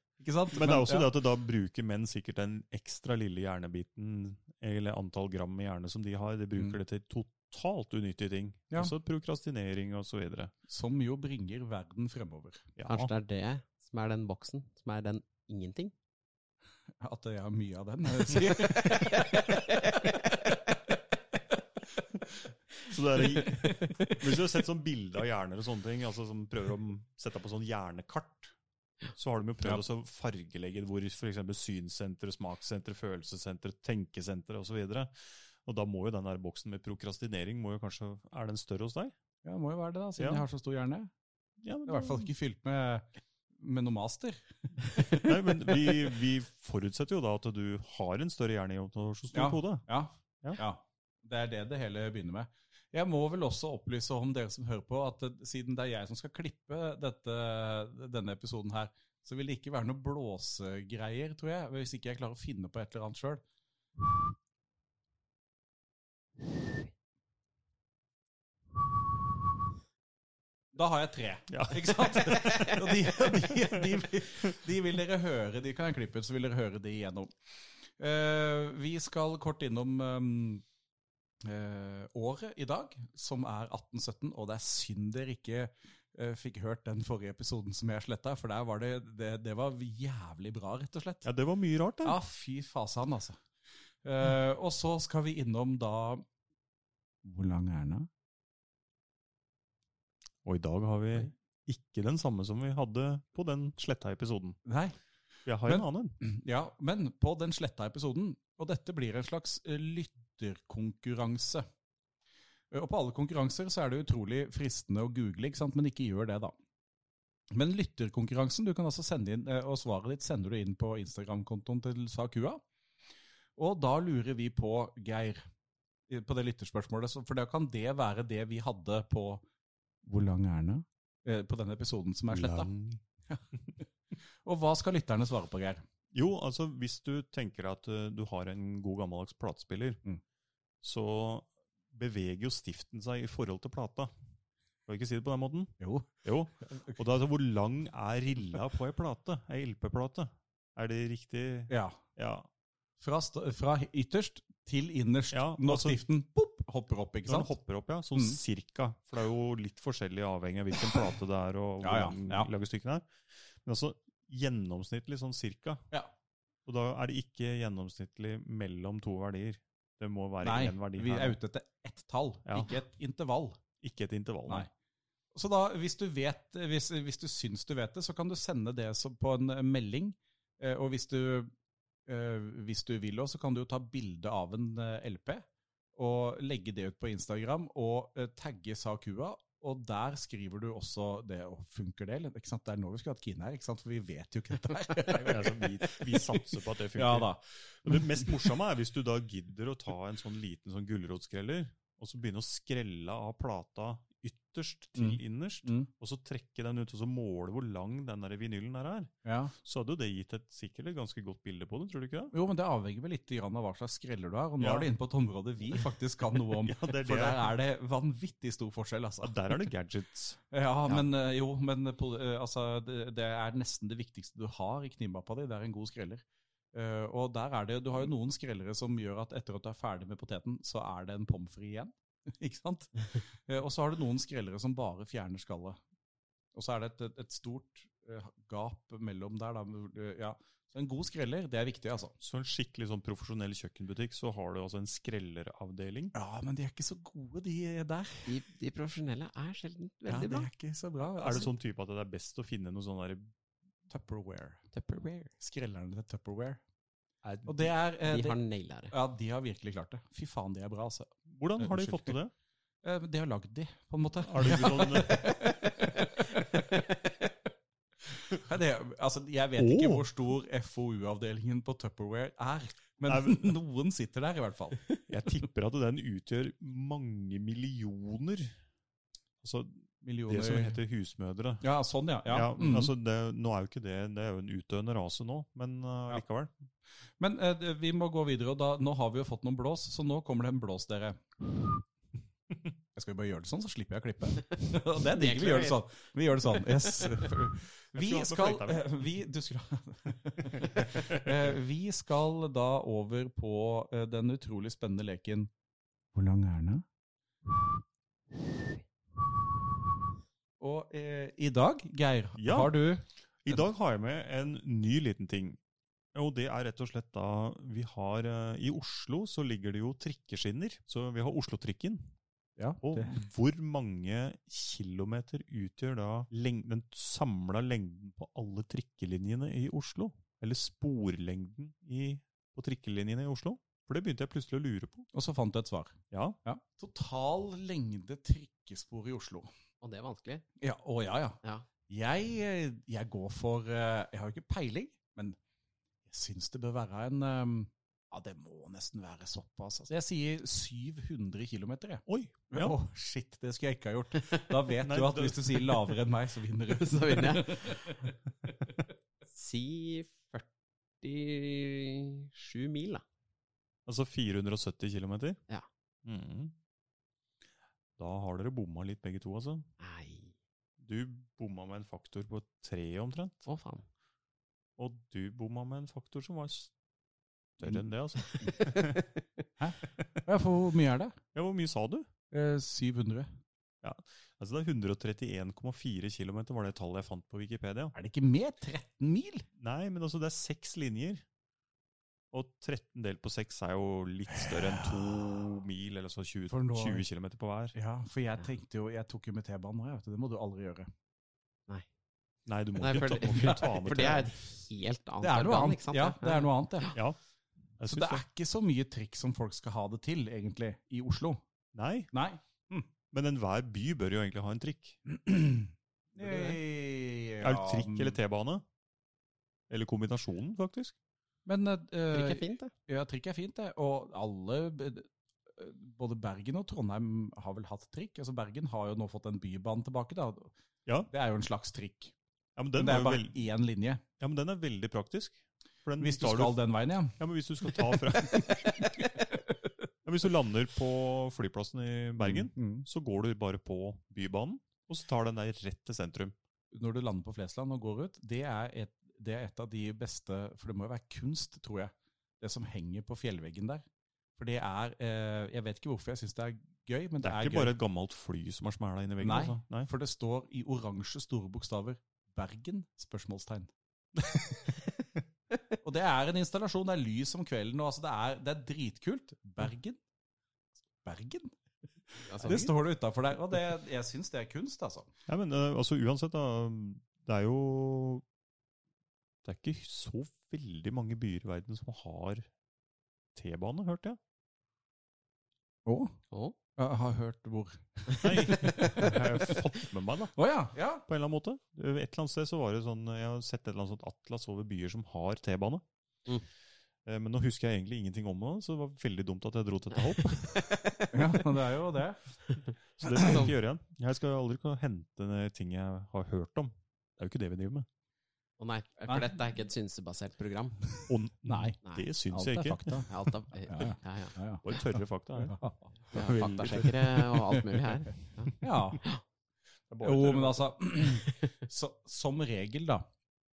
[SPEAKER 1] ikke sant?
[SPEAKER 2] Men det er også
[SPEAKER 1] ja.
[SPEAKER 2] det at da bruker menn sikkert den ekstra lille hjernebiten, eller antall gram i hjerne som de har, de
[SPEAKER 1] Mm.
[SPEAKER 2] bruker det til totalt unyttige ting.
[SPEAKER 1] Ja.
[SPEAKER 2] Altså prokrastinering og så videre.
[SPEAKER 1] Som jo bringer verden fremover.
[SPEAKER 2] Ja.
[SPEAKER 3] Kanskje det er det som er den boksen, som er den ingenting.
[SPEAKER 1] At jeg har mye av den, er det du sier.
[SPEAKER 2] Så det er, hvis du har sett sånn bilde av hjerner og sånne ting, altså som prøver å sette på sånn hjernekart, så har de jo prøvd
[SPEAKER 1] Ja.
[SPEAKER 2] også å fargelegge hvor f.eks. synssenter, smakssenter, følelsessenter, tenkesenter osv. Og da må jo den der boksen med prokrastinering må jo kanskje, Er den større hos deg?
[SPEAKER 1] Ja, må jo være det, da, siden
[SPEAKER 2] Ja.
[SPEAKER 1] jeg har så stor hjerne.
[SPEAKER 2] Ja, men,
[SPEAKER 1] Jeg er i hvert fall ikke fylt med, med noe master.
[SPEAKER 2] Nei, men vi, vi forutsetter jo da at du har en større hjerne i og med så stor
[SPEAKER 1] Ja.
[SPEAKER 2] hode.
[SPEAKER 1] Ja.
[SPEAKER 2] Ja.
[SPEAKER 1] ja. Det er det det hele begynner med. Jeg må vel også opplyse om dere som hører på, at eh, siden det er jeg som skal klippe dette, denne episoden her, så vil det ikke være noe blåsegreier, tror jeg, hvis ikke jeg klarer å finne på et eller annet sjøl. Da har jeg tre,
[SPEAKER 2] Ja.
[SPEAKER 1] ikke sant? Og de, de, de, de vil dere høre, de kan jeg klippe ut, så vil dere høre de igjennom. Eh, vi skal kort innom eh, eh, året i dag, som er 1817, og det er synd dere ikke eh, fikk hørt den forrige episoden som jeg sletta, for der var det, det, det var jævlig bra, rett og slett.
[SPEAKER 2] Ja, det var mye rart, det.
[SPEAKER 1] Ja, fy fasan, altså. Eh, og så skal vi innom da Hvor lang er den, da?
[SPEAKER 2] Og i dag har vi ikke den samme som vi hadde på den sletta episoden.
[SPEAKER 1] Nei.
[SPEAKER 2] Jeg har
[SPEAKER 1] Men-
[SPEAKER 2] en annen.
[SPEAKER 1] Ja, men på den sletta episoden, og dette blir en slags eh, lytterkonkurranse. Eh, Og på alle konkurranser så er det utrolig fristende å google, ikke sant? men ikke gjør det, da. Men lytterkonkurransen, du kan altså sende inn, eh, og svaret ditt sender du inn på Instagram-kontoen til Sakua. Og da lurer vi på, Geir, i- på det lytterspørsmålet, så- for da kan det være det vi hadde på Hvor lang er den? eh, På den episoden som er sletta.
[SPEAKER 2] Lang-
[SPEAKER 1] Og hva skal lytterne svare på, Geir?
[SPEAKER 2] Jo, altså hvis du tenker at eh, du har en god gammeldags platespiller,
[SPEAKER 1] Mm.
[SPEAKER 2] så beveger jo stiften seg i forhold til plata. Kan vi ikke si det på den måten?
[SPEAKER 1] Jo.
[SPEAKER 2] Jo. Og da, altså, hvor lang er rilla på ei plate? Ei LP-plate? Er det riktig?
[SPEAKER 1] Ja.
[SPEAKER 2] Ja.
[SPEAKER 1] Fra, st- fra ytterst til innerst
[SPEAKER 2] Ja,
[SPEAKER 1] når
[SPEAKER 2] altså-
[SPEAKER 1] stiften pop, hopper opp, ikke
[SPEAKER 2] Når den
[SPEAKER 1] sant?
[SPEAKER 2] hopper opp, ja. Sånn
[SPEAKER 1] Mm.
[SPEAKER 2] cirka. For det er jo litt forskjellig avhengig av hvilken plate det er, og hvor
[SPEAKER 1] Ja, ja,
[SPEAKER 2] lang
[SPEAKER 1] ja.
[SPEAKER 2] lagestykken er. Men altså gjennomsnittlig sånn cirka.
[SPEAKER 1] Ja.
[SPEAKER 2] Og da er det ikke gjennomsnittlig mellom to verdier. Det må være
[SPEAKER 1] Nei,
[SPEAKER 2] én verdi
[SPEAKER 1] vi
[SPEAKER 2] her.
[SPEAKER 1] er ute etter ett tall,
[SPEAKER 2] Ja.
[SPEAKER 1] ikke et intervall.
[SPEAKER 2] Ikke et intervall.
[SPEAKER 1] Nei. Så da, hvis du, vet, hvis, hvis du syns du vet det, så kan du sende det som på en eh, melding. Eh, og hvis du, eh, hvis du vil også, så kan du jo ta bilde av en eh, LP og legge det ut på Instagram og eh, tagge Sakua Og der skriver du også det, og funker det, eller? Ikke sant? Det er nå vi skulle hatt Kine her, ikke sant? for vi vet jo ikke dette her.
[SPEAKER 2] Vi, er så, vi, altså, vi satser på at det funker.
[SPEAKER 1] ja da.
[SPEAKER 2] Og Det mest morsomme er hvis du da gidder å ta en sånn liten sånn gulrotskreller, og så begynne å skrelle av plata ytterst til
[SPEAKER 1] Mm.
[SPEAKER 2] innerst,
[SPEAKER 1] Mm,
[SPEAKER 2] og så trekke den ut og så måle hvor lang den der vinylen der er,
[SPEAKER 1] ja.
[SPEAKER 2] så hadde jo det gitt et sikkert et ganske godt bilde på det, tror du ikke det?
[SPEAKER 1] Jo, men det avhenger vel litt grann av hva slags skreller du har. Og nå
[SPEAKER 2] Ja.
[SPEAKER 1] er du inne på et område vi faktisk kan noe om.
[SPEAKER 2] Ja, det er
[SPEAKER 1] For
[SPEAKER 2] det.
[SPEAKER 1] der er det vanvittig stor forskjell, altså.
[SPEAKER 2] Ja, der er det gadgets.
[SPEAKER 1] Ja, men eh, jo, men pol- eh, altså, det, det er nesten det viktigste du har i knivmappa di. Det er en god skreller. Eh, og der er det, du har jo noen skrellere som gjør at etter at du er ferdig med poteten, så er det en pommes frites igjen. Ikke sant? Eh, og så har du noen skrellere som bare fjerner skallet. Og så er det et, et, et stort eh, gap mellom der, da. hvor du- Ja. Så en god skreller, det er viktig, altså.
[SPEAKER 2] Så en skikkelig sånn profesjonell kjøkkenbutikk, så har du altså en skrelleravdeling.
[SPEAKER 1] Ja, men de er ikke så gode, de der.
[SPEAKER 3] De, de profesjonelle er sjelden
[SPEAKER 1] Ja,
[SPEAKER 3] veldig
[SPEAKER 1] det
[SPEAKER 3] bra.
[SPEAKER 1] er ikke så bra. Altså,
[SPEAKER 2] Er det sånn type at det er best å finne noe sånn der...
[SPEAKER 1] Tupperware.
[SPEAKER 3] Tupperware.
[SPEAKER 1] Skrellerne til Tupperware. Og
[SPEAKER 2] Er,
[SPEAKER 1] det er eh,
[SPEAKER 3] De
[SPEAKER 1] det-
[SPEAKER 3] har naila det.
[SPEAKER 1] Ja, de har virkelig klart det. Fy faen, de er bra, altså.
[SPEAKER 2] hvordan har de
[SPEAKER 1] Unnskyld.
[SPEAKER 2] fått til det?
[SPEAKER 1] Eh, men De har lagd de, på en måte.
[SPEAKER 2] Har de sånn...
[SPEAKER 1] Nei, det, altså, jeg vet
[SPEAKER 2] Åh.
[SPEAKER 1] ikke hvor stor FoU-avdelingen på Tupperware er, men
[SPEAKER 2] Nei, men-
[SPEAKER 1] noen sitter der i hvert fall.
[SPEAKER 2] Jeg tipper at den utgjør mange millioner. Altså
[SPEAKER 1] Millioner.
[SPEAKER 2] det som heter husmødre.
[SPEAKER 1] Ja, sånn, ja. ja.
[SPEAKER 2] Ja,
[SPEAKER 1] mm.
[SPEAKER 2] altså det, nå er jo ikke det, det er jo en utdøende rase nå, men uh,
[SPEAKER 1] Ja.
[SPEAKER 2] likevel.
[SPEAKER 1] Men eh, det- vi må gå videre, og da, nå har vi jo fått noen blås, så nå kommer det en blås, dere. Jeg skal jo bare gjøre det sånn, så slipper jeg å klippe. Og det er digg. Vi gjør det sånn. Vi gjør det sånn. Yes. Vi
[SPEAKER 2] Jeg skulle
[SPEAKER 1] skal
[SPEAKER 2] hatt med fløyta
[SPEAKER 1] eh, vi, du skulle, Eh, vi skal da over på eh, den utrolig spennende leken Hvor lang er den? Og eh, i dag, Geir,
[SPEAKER 2] Ja.
[SPEAKER 1] har du
[SPEAKER 2] I dag har jeg med en ny liten ting. Og det er rett og slett da vi har eh, I Oslo så ligger det jo trikkeskinner. Så vi har Oslo-trikken.
[SPEAKER 1] ja,
[SPEAKER 2] Og
[SPEAKER 1] det,
[SPEAKER 2] hvor mange kilometer utgjør da leng den samla lengden på alle trikkelinjene i Oslo? Eller sporlengden i, på trikkelinjene i Oslo? For det begynte jeg plutselig å lure på.
[SPEAKER 1] Og så fant du et svar.
[SPEAKER 2] Ja,
[SPEAKER 1] Ja. Total lengde trikkespor i Oslo.
[SPEAKER 3] Og det er vanskelig.
[SPEAKER 1] Ja, å ja, ja.
[SPEAKER 3] Ja.
[SPEAKER 1] Jeg, eh, jeg går for eh, Jeg har jo ikke peiling, men jeg syns det bør være en eh, Ja, det må nesten være såpass. Altså. Jeg sier 700 km, jeg.
[SPEAKER 2] Oi!
[SPEAKER 1] Å,
[SPEAKER 2] Ja.
[SPEAKER 1] shit, det skulle jeg ikke ha gjort. Da vet
[SPEAKER 2] Nei,
[SPEAKER 1] du at
[SPEAKER 2] da-
[SPEAKER 1] hvis du sier lavere enn meg, så vinner du.
[SPEAKER 3] Så vinner Si 47 mil, da.
[SPEAKER 2] Altså 470 kilometer?
[SPEAKER 3] Ja.
[SPEAKER 2] Mhm. Da har dere bomma litt begge to, altså.
[SPEAKER 3] Nei,
[SPEAKER 2] Du bomma med en faktor på tre omtrent.
[SPEAKER 3] å faen.
[SPEAKER 2] Og du bomma med en faktor som var større enn det, altså.
[SPEAKER 1] Ja, for hvor mye er det?
[SPEAKER 2] Ja, hvor mye sa du?
[SPEAKER 1] Eh, 700.
[SPEAKER 2] Altså Det er 131,4 km var det tallet jeg fant på Wikipedia.
[SPEAKER 1] Er det ikke mer? 13 mil?
[SPEAKER 2] Nei, men altså det er seks linjer. Og 13 delt på 6 er jo litt større enn to mil, eller så 20,
[SPEAKER 1] For nå-
[SPEAKER 2] 20 km på hver.
[SPEAKER 1] Ja, for jeg tenkte jo Jeg tok jo med T-banen òg, Det må du aldri gjøre.
[SPEAKER 2] Nei, du må
[SPEAKER 3] Nei,
[SPEAKER 2] ikke
[SPEAKER 3] for,
[SPEAKER 2] ta, må ikke ta med
[SPEAKER 3] for det er
[SPEAKER 2] til-
[SPEAKER 3] et helt annet
[SPEAKER 1] Det er noe
[SPEAKER 3] organ,
[SPEAKER 1] annet.
[SPEAKER 3] ikke sant?
[SPEAKER 1] Ja, det er noe annet, ja.
[SPEAKER 2] Ja, jeg
[SPEAKER 1] Så
[SPEAKER 2] syns
[SPEAKER 1] det
[SPEAKER 2] det.
[SPEAKER 1] er ikke så mye triks som folk skal ha det til, egentlig, i Oslo.
[SPEAKER 2] Nei,
[SPEAKER 1] Nei.
[SPEAKER 2] men enhver by bør jo egentlig ha en trikk. Er det trikk eller T-bane? Eller kombinasjonen, faktisk.
[SPEAKER 1] Men eh,
[SPEAKER 3] Trykk er fint, det.
[SPEAKER 1] ja, trikk er fint, det. Og alle eh, Både Bergen og Trondheim har vel hatt trikk. Altså Bergen har jo nå fått en bybane tilbake, da.
[SPEAKER 2] Ja.
[SPEAKER 1] Det er jo en slags trikk.
[SPEAKER 2] Ja, men
[SPEAKER 1] Men
[SPEAKER 2] den,
[SPEAKER 1] det
[SPEAKER 2] var
[SPEAKER 1] er
[SPEAKER 2] jo
[SPEAKER 1] bare
[SPEAKER 2] veld,
[SPEAKER 1] én linje.
[SPEAKER 2] ja, men den er veldig praktisk. For den
[SPEAKER 1] Hvis du
[SPEAKER 2] tar
[SPEAKER 1] skal den veien, ja.
[SPEAKER 2] Ja, men hvis du skal ta fra ja, Hvis du lander på flyplassen i Bergen,
[SPEAKER 1] Mm.
[SPEAKER 2] så går du bare på Bybanen, og så tar den deg rett til sentrum.
[SPEAKER 1] når du lander på Flesland og går ut, det er, et, det er et av de beste For det må jo være kunst, tror jeg, det som henger på fjellveggen der. For det er eh, Jeg vet ikke hvorfor jeg syns det er gøy, men det,
[SPEAKER 2] Det er, ikke
[SPEAKER 1] gøy.
[SPEAKER 2] bare et gammelt fly som er smæla inn i veggen.
[SPEAKER 1] Nei.
[SPEAKER 2] Altså. Nei.
[SPEAKER 1] For det står i oransje store bokstaver 'Bergen?' spørsmålstegn. og det er en installasjon. Det er lys om kvelden, og altså det, er, det er dritkult. Bergen? Bergen?
[SPEAKER 3] Altså,
[SPEAKER 1] Det står det utafor der. Og det, jeg syns det er kunst, altså.
[SPEAKER 2] Ja, men eh, altså uansett, da. Det er jo Det er ikke så veldig mange byer i verden som har T-bane, hørte jeg.
[SPEAKER 1] Å?
[SPEAKER 3] Å,
[SPEAKER 1] Jeg har hørt hvor.
[SPEAKER 2] Nei, jeg har jo fått med meg, da.
[SPEAKER 1] Å ja, ja.
[SPEAKER 2] På en eller annen måte. Eh, Et eller annet sted så var det sånn Jeg har sett et eller annet sånt atlas over byer som har T-bane.
[SPEAKER 3] Mm.
[SPEAKER 2] Eh, Men nå husker jeg egentlig ingenting om det, så det var veldig dumt at jeg dro til dette hopp.
[SPEAKER 1] ja, det er jo det.
[SPEAKER 2] Så det skal jeg ikke gjøre igjen. Jeg skal aldri gå og hente ned ting jeg har hørt om. Det er jo ikke det vi driver med.
[SPEAKER 3] Å nei, for dette er ikke et synsebasert program.
[SPEAKER 2] Og
[SPEAKER 1] Nei.
[SPEAKER 3] Nei,
[SPEAKER 2] det syns
[SPEAKER 1] Alt
[SPEAKER 2] jeg
[SPEAKER 1] er
[SPEAKER 2] ikke.
[SPEAKER 1] fakta.
[SPEAKER 3] alt er, ja, ja, ja.
[SPEAKER 1] Ja,
[SPEAKER 2] Bare tørre fakta. her.
[SPEAKER 1] ja.
[SPEAKER 3] Ja, Faktasjekkere og alt mulig her.
[SPEAKER 1] ja.
[SPEAKER 2] Det er bare
[SPEAKER 1] Jo,
[SPEAKER 2] tørre
[SPEAKER 1] men
[SPEAKER 2] fakta.
[SPEAKER 1] altså så, Som regel, da,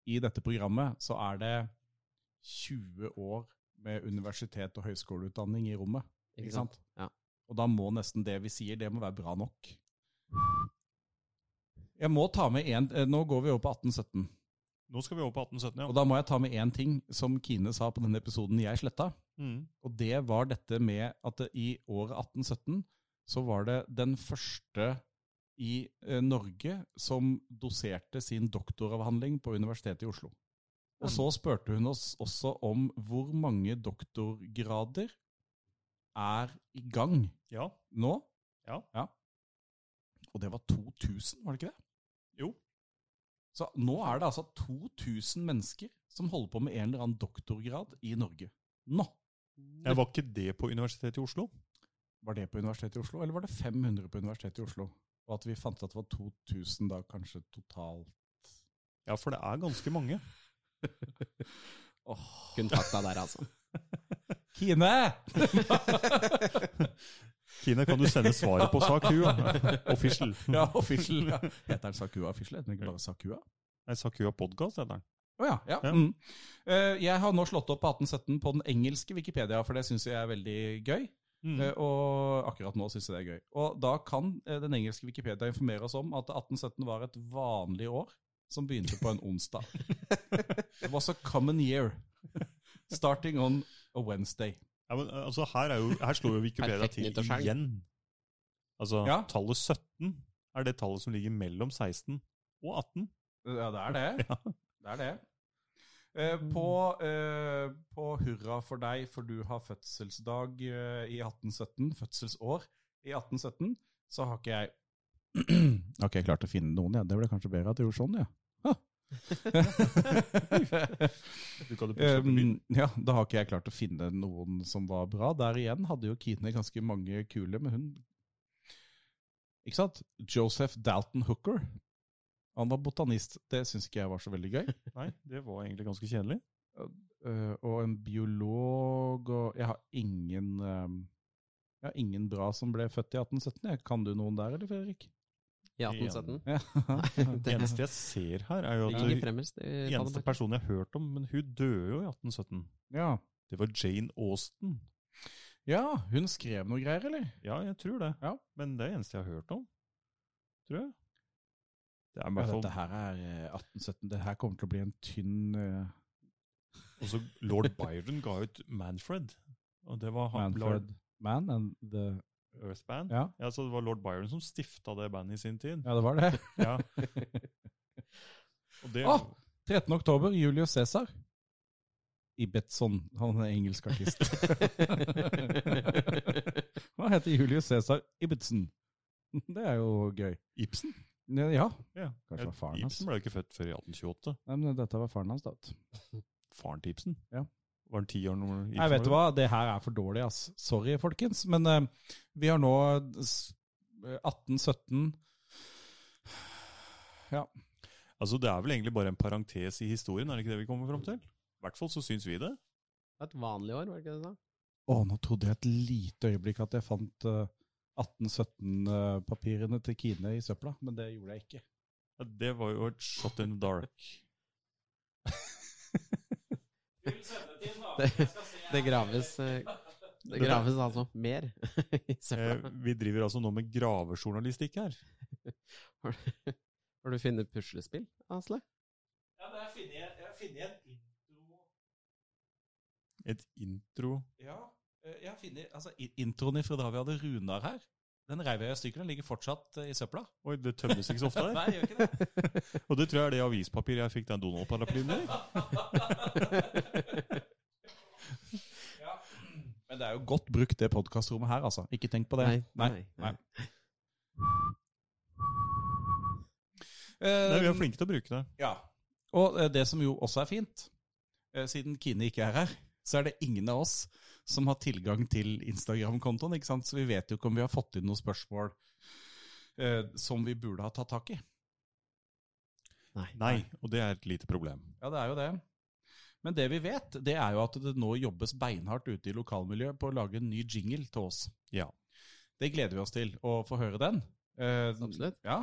[SPEAKER 1] i dette programmet, så er det 20 år med universitet og høyskoleutdanning i rommet. Ikke sant?
[SPEAKER 3] Ja.
[SPEAKER 1] Og da må nesten det vi sier, det må være bra nok. Jeg må ta med en, eh, Nå går vi over på 1817.
[SPEAKER 2] Nå skal vi over på 1817, ja.
[SPEAKER 1] Og da må jeg ta med én ting som Kine sa på den episoden jeg sletta.
[SPEAKER 2] Mm.
[SPEAKER 1] Og det var dette med at det i året 1817 så var det den første i eh, Norge som doserte sin doktoravhandling på Universitetet i Oslo. Og
[SPEAKER 2] Mm.
[SPEAKER 1] så spurte hun oss også om hvor mange doktorgrader er i gang
[SPEAKER 2] ja.
[SPEAKER 1] nå.
[SPEAKER 2] Ja.
[SPEAKER 1] Og det var 2000, var det ikke det?
[SPEAKER 2] Jo.
[SPEAKER 1] Så nå er det altså 2000 mennesker som holder på med en eller annen doktorgrad i Norge. Nå!
[SPEAKER 2] Jeg var ikke det på Universitetet i Oslo.
[SPEAKER 1] Var det på Universitetet i Oslo, eller var det 500 på Universitetet i Oslo? Og at vi fant at det var 2000 da kanskje totalt.
[SPEAKER 2] Ja, for det er ganske mange.
[SPEAKER 3] Kun fakta der, altså.
[SPEAKER 1] Kine!
[SPEAKER 2] Kine, kan du sende svaret på sak du, ja? Official.
[SPEAKER 1] Ja, official. Ja. Heter den Sakua official? Heter den ikke bare Sakua?
[SPEAKER 2] Nei, Sakua Podcast heter den.
[SPEAKER 1] Å ja. ja.
[SPEAKER 2] Ja.
[SPEAKER 1] Mm. Eh, jeg har nå slått opp 1817 på den engelske Wikipedia, for det syns jeg er veldig gøy.
[SPEAKER 2] Mm.
[SPEAKER 1] Eh, Og akkurat nå syns jeg det er gøy. Og da kan eh, den engelske Wikipedia informere oss om at 1817 var et vanlig år som begynte på en onsdag. Det var så common year. Starting on a Wednesday.
[SPEAKER 2] Ja, men altså, her, er jo, her slår jo Wikipedia
[SPEAKER 3] Perfekt
[SPEAKER 2] til
[SPEAKER 3] nyttårshelg.
[SPEAKER 2] igjen. Altså,
[SPEAKER 1] Ja.
[SPEAKER 2] tallet 17 er det tallet som ligger mellom 16 og 18.
[SPEAKER 1] Ja, det er det. Det er det. Eh, på, eh, på Hurra for deg, for du har fødselsdag eh, i 1817, fødselsår i 1817, så har ikke jeg Har ikke jeg klart å finne noen, ja. Det ble kanskje bedre at jeg gjorde sånn, ja. Ha.
[SPEAKER 2] Du kan jo plutselig bli begynt.
[SPEAKER 1] Um, ja, da har ikke jeg klart å finne noen som var bra. Der igjen hadde jo Kine ganske mange kule, men hun Ikke sant? Joseph Dalton Hooker. Han var botanist. Det syns ikke jeg var så veldig gøy.
[SPEAKER 2] Nei, det var egentlig ganske kjedelig.
[SPEAKER 1] Eh, og en biolog og Jeg har ingen eh, Jeg har ingen bra som ble født i 1817. jeg. Kan du noen der, eller, Fredrik?
[SPEAKER 3] I 1817.
[SPEAKER 1] Ja.
[SPEAKER 2] Det eneste jeg ser her, er jo
[SPEAKER 3] Det
[SPEAKER 2] at
[SPEAKER 3] ligger
[SPEAKER 2] den
[SPEAKER 3] fremst. i
[SPEAKER 2] eneste
[SPEAKER 3] Danmark.
[SPEAKER 2] personen jeg har hørt om, men hun døde jo i 1817.
[SPEAKER 1] ja.
[SPEAKER 2] Det var Jane Austen.
[SPEAKER 1] ja, hun skrev noe greier, eller?
[SPEAKER 2] Ja, jeg tror det.
[SPEAKER 1] Ja.
[SPEAKER 2] Men det er det eneste jeg har hørt om. Tror jeg. Det er i
[SPEAKER 1] Ja,
[SPEAKER 2] hvert
[SPEAKER 1] dette
[SPEAKER 2] fall
[SPEAKER 1] her er eh, 1817. Det her kommer til å bli en tynn eh,
[SPEAKER 2] Også lord Byron ga ut Manfred. Og det var han,
[SPEAKER 1] Manfred Man and the
[SPEAKER 2] Lord Earth Band.
[SPEAKER 1] Ja,
[SPEAKER 2] Ja, så det var lord Byron som stifta det bandet i sin tid.
[SPEAKER 1] ja det var det.
[SPEAKER 2] Ja. Og det,
[SPEAKER 1] Ah! 13. oktober, Julius Cæsar. Ibetson, han er engelsk artist. Hva heter Julius Cæsar Ibetson? Det er jo gøy.
[SPEAKER 2] Ibsen?
[SPEAKER 1] Ne- Ja,
[SPEAKER 2] Ja.
[SPEAKER 1] Kanskje det var faren hans.
[SPEAKER 2] Ibsen ble jo ikke født før i 1828.
[SPEAKER 1] Nei, men dette var faren hans, da. vet du.
[SPEAKER 2] Faren til Ibsen?
[SPEAKER 1] Ja.
[SPEAKER 2] Var han ti år når Ibsen
[SPEAKER 1] Nei, vet du
[SPEAKER 2] var-
[SPEAKER 1] hva, det her er for dårlig, ass. Sorry, folkens. Men eh, vi har nå s- eh, 1817
[SPEAKER 2] Altså, Det er vel egentlig bare en parentes i historien, er det ikke det vi kommer fram til? I hvert fall så syns vi det.
[SPEAKER 3] Det var et vanlig år, var det ikke det du sa?
[SPEAKER 1] Å, nå trodde jeg et lite øyeblikk at jeg fant eh, 1817-papirene eh, til Kine i søpla, men det gjorde jeg ikke.
[SPEAKER 2] Ja, Det var jo et shot in the dark.
[SPEAKER 3] Det, det graves eh, Det graves altså mer i
[SPEAKER 2] Eh,
[SPEAKER 3] søpla.
[SPEAKER 2] vi driver altså nå med gravejournalistikk her.
[SPEAKER 3] Har du funnet puslespill, Asle?
[SPEAKER 1] Ja, men jeg har funnet- jeg har funnet en intro
[SPEAKER 2] Et intro
[SPEAKER 1] Ja, eh, jeg har funnet altså, i- introen fra da vi hadde Runar her. Den reiv jeg i stykker. Den ligger fortsatt eh, i søpla.
[SPEAKER 2] Oi, det tømmes ikke så ofte her.
[SPEAKER 1] Nei, jeg gjør ikke det.
[SPEAKER 2] Og det tror jeg er det avispapir jeg fikk den Donald-paraplyen i.
[SPEAKER 1] Ja. Men det er er jo godt brukt, det podkastrommet her, altså. Ikke tenk på det.
[SPEAKER 3] Nei,
[SPEAKER 1] Nei.
[SPEAKER 3] nei.
[SPEAKER 2] Nei, vi
[SPEAKER 1] Eh,
[SPEAKER 2] er flinke til å bruke det.
[SPEAKER 1] Ja. Og eh, det som jo også er fint, eh, siden Kine ikke er her, så er det ingen av oss som har tilgang til Instagram-kontoen, ikke sant? Så vi vet jo ikke om vi har fått inn noen spørsmål eh, som vi burde ha tatt tak i.
[SPEAKER 3] Nei.
[SPEAKER 2] Nei, og det er et lite problem.
[SPEAKER 1] Ja, det er jo det. Men det vi vet, det er jo at det nå jobbes beinhardt ute i lokalmiljøet på å lage en ny jingle til oss.
[SPEAKER 2] Ja.
[SPEAKER 1] Det gleder vi oss til å få høre den. Eh,
[SPEAKER 3] Absolutt.
[SPEAKER 1] Ja,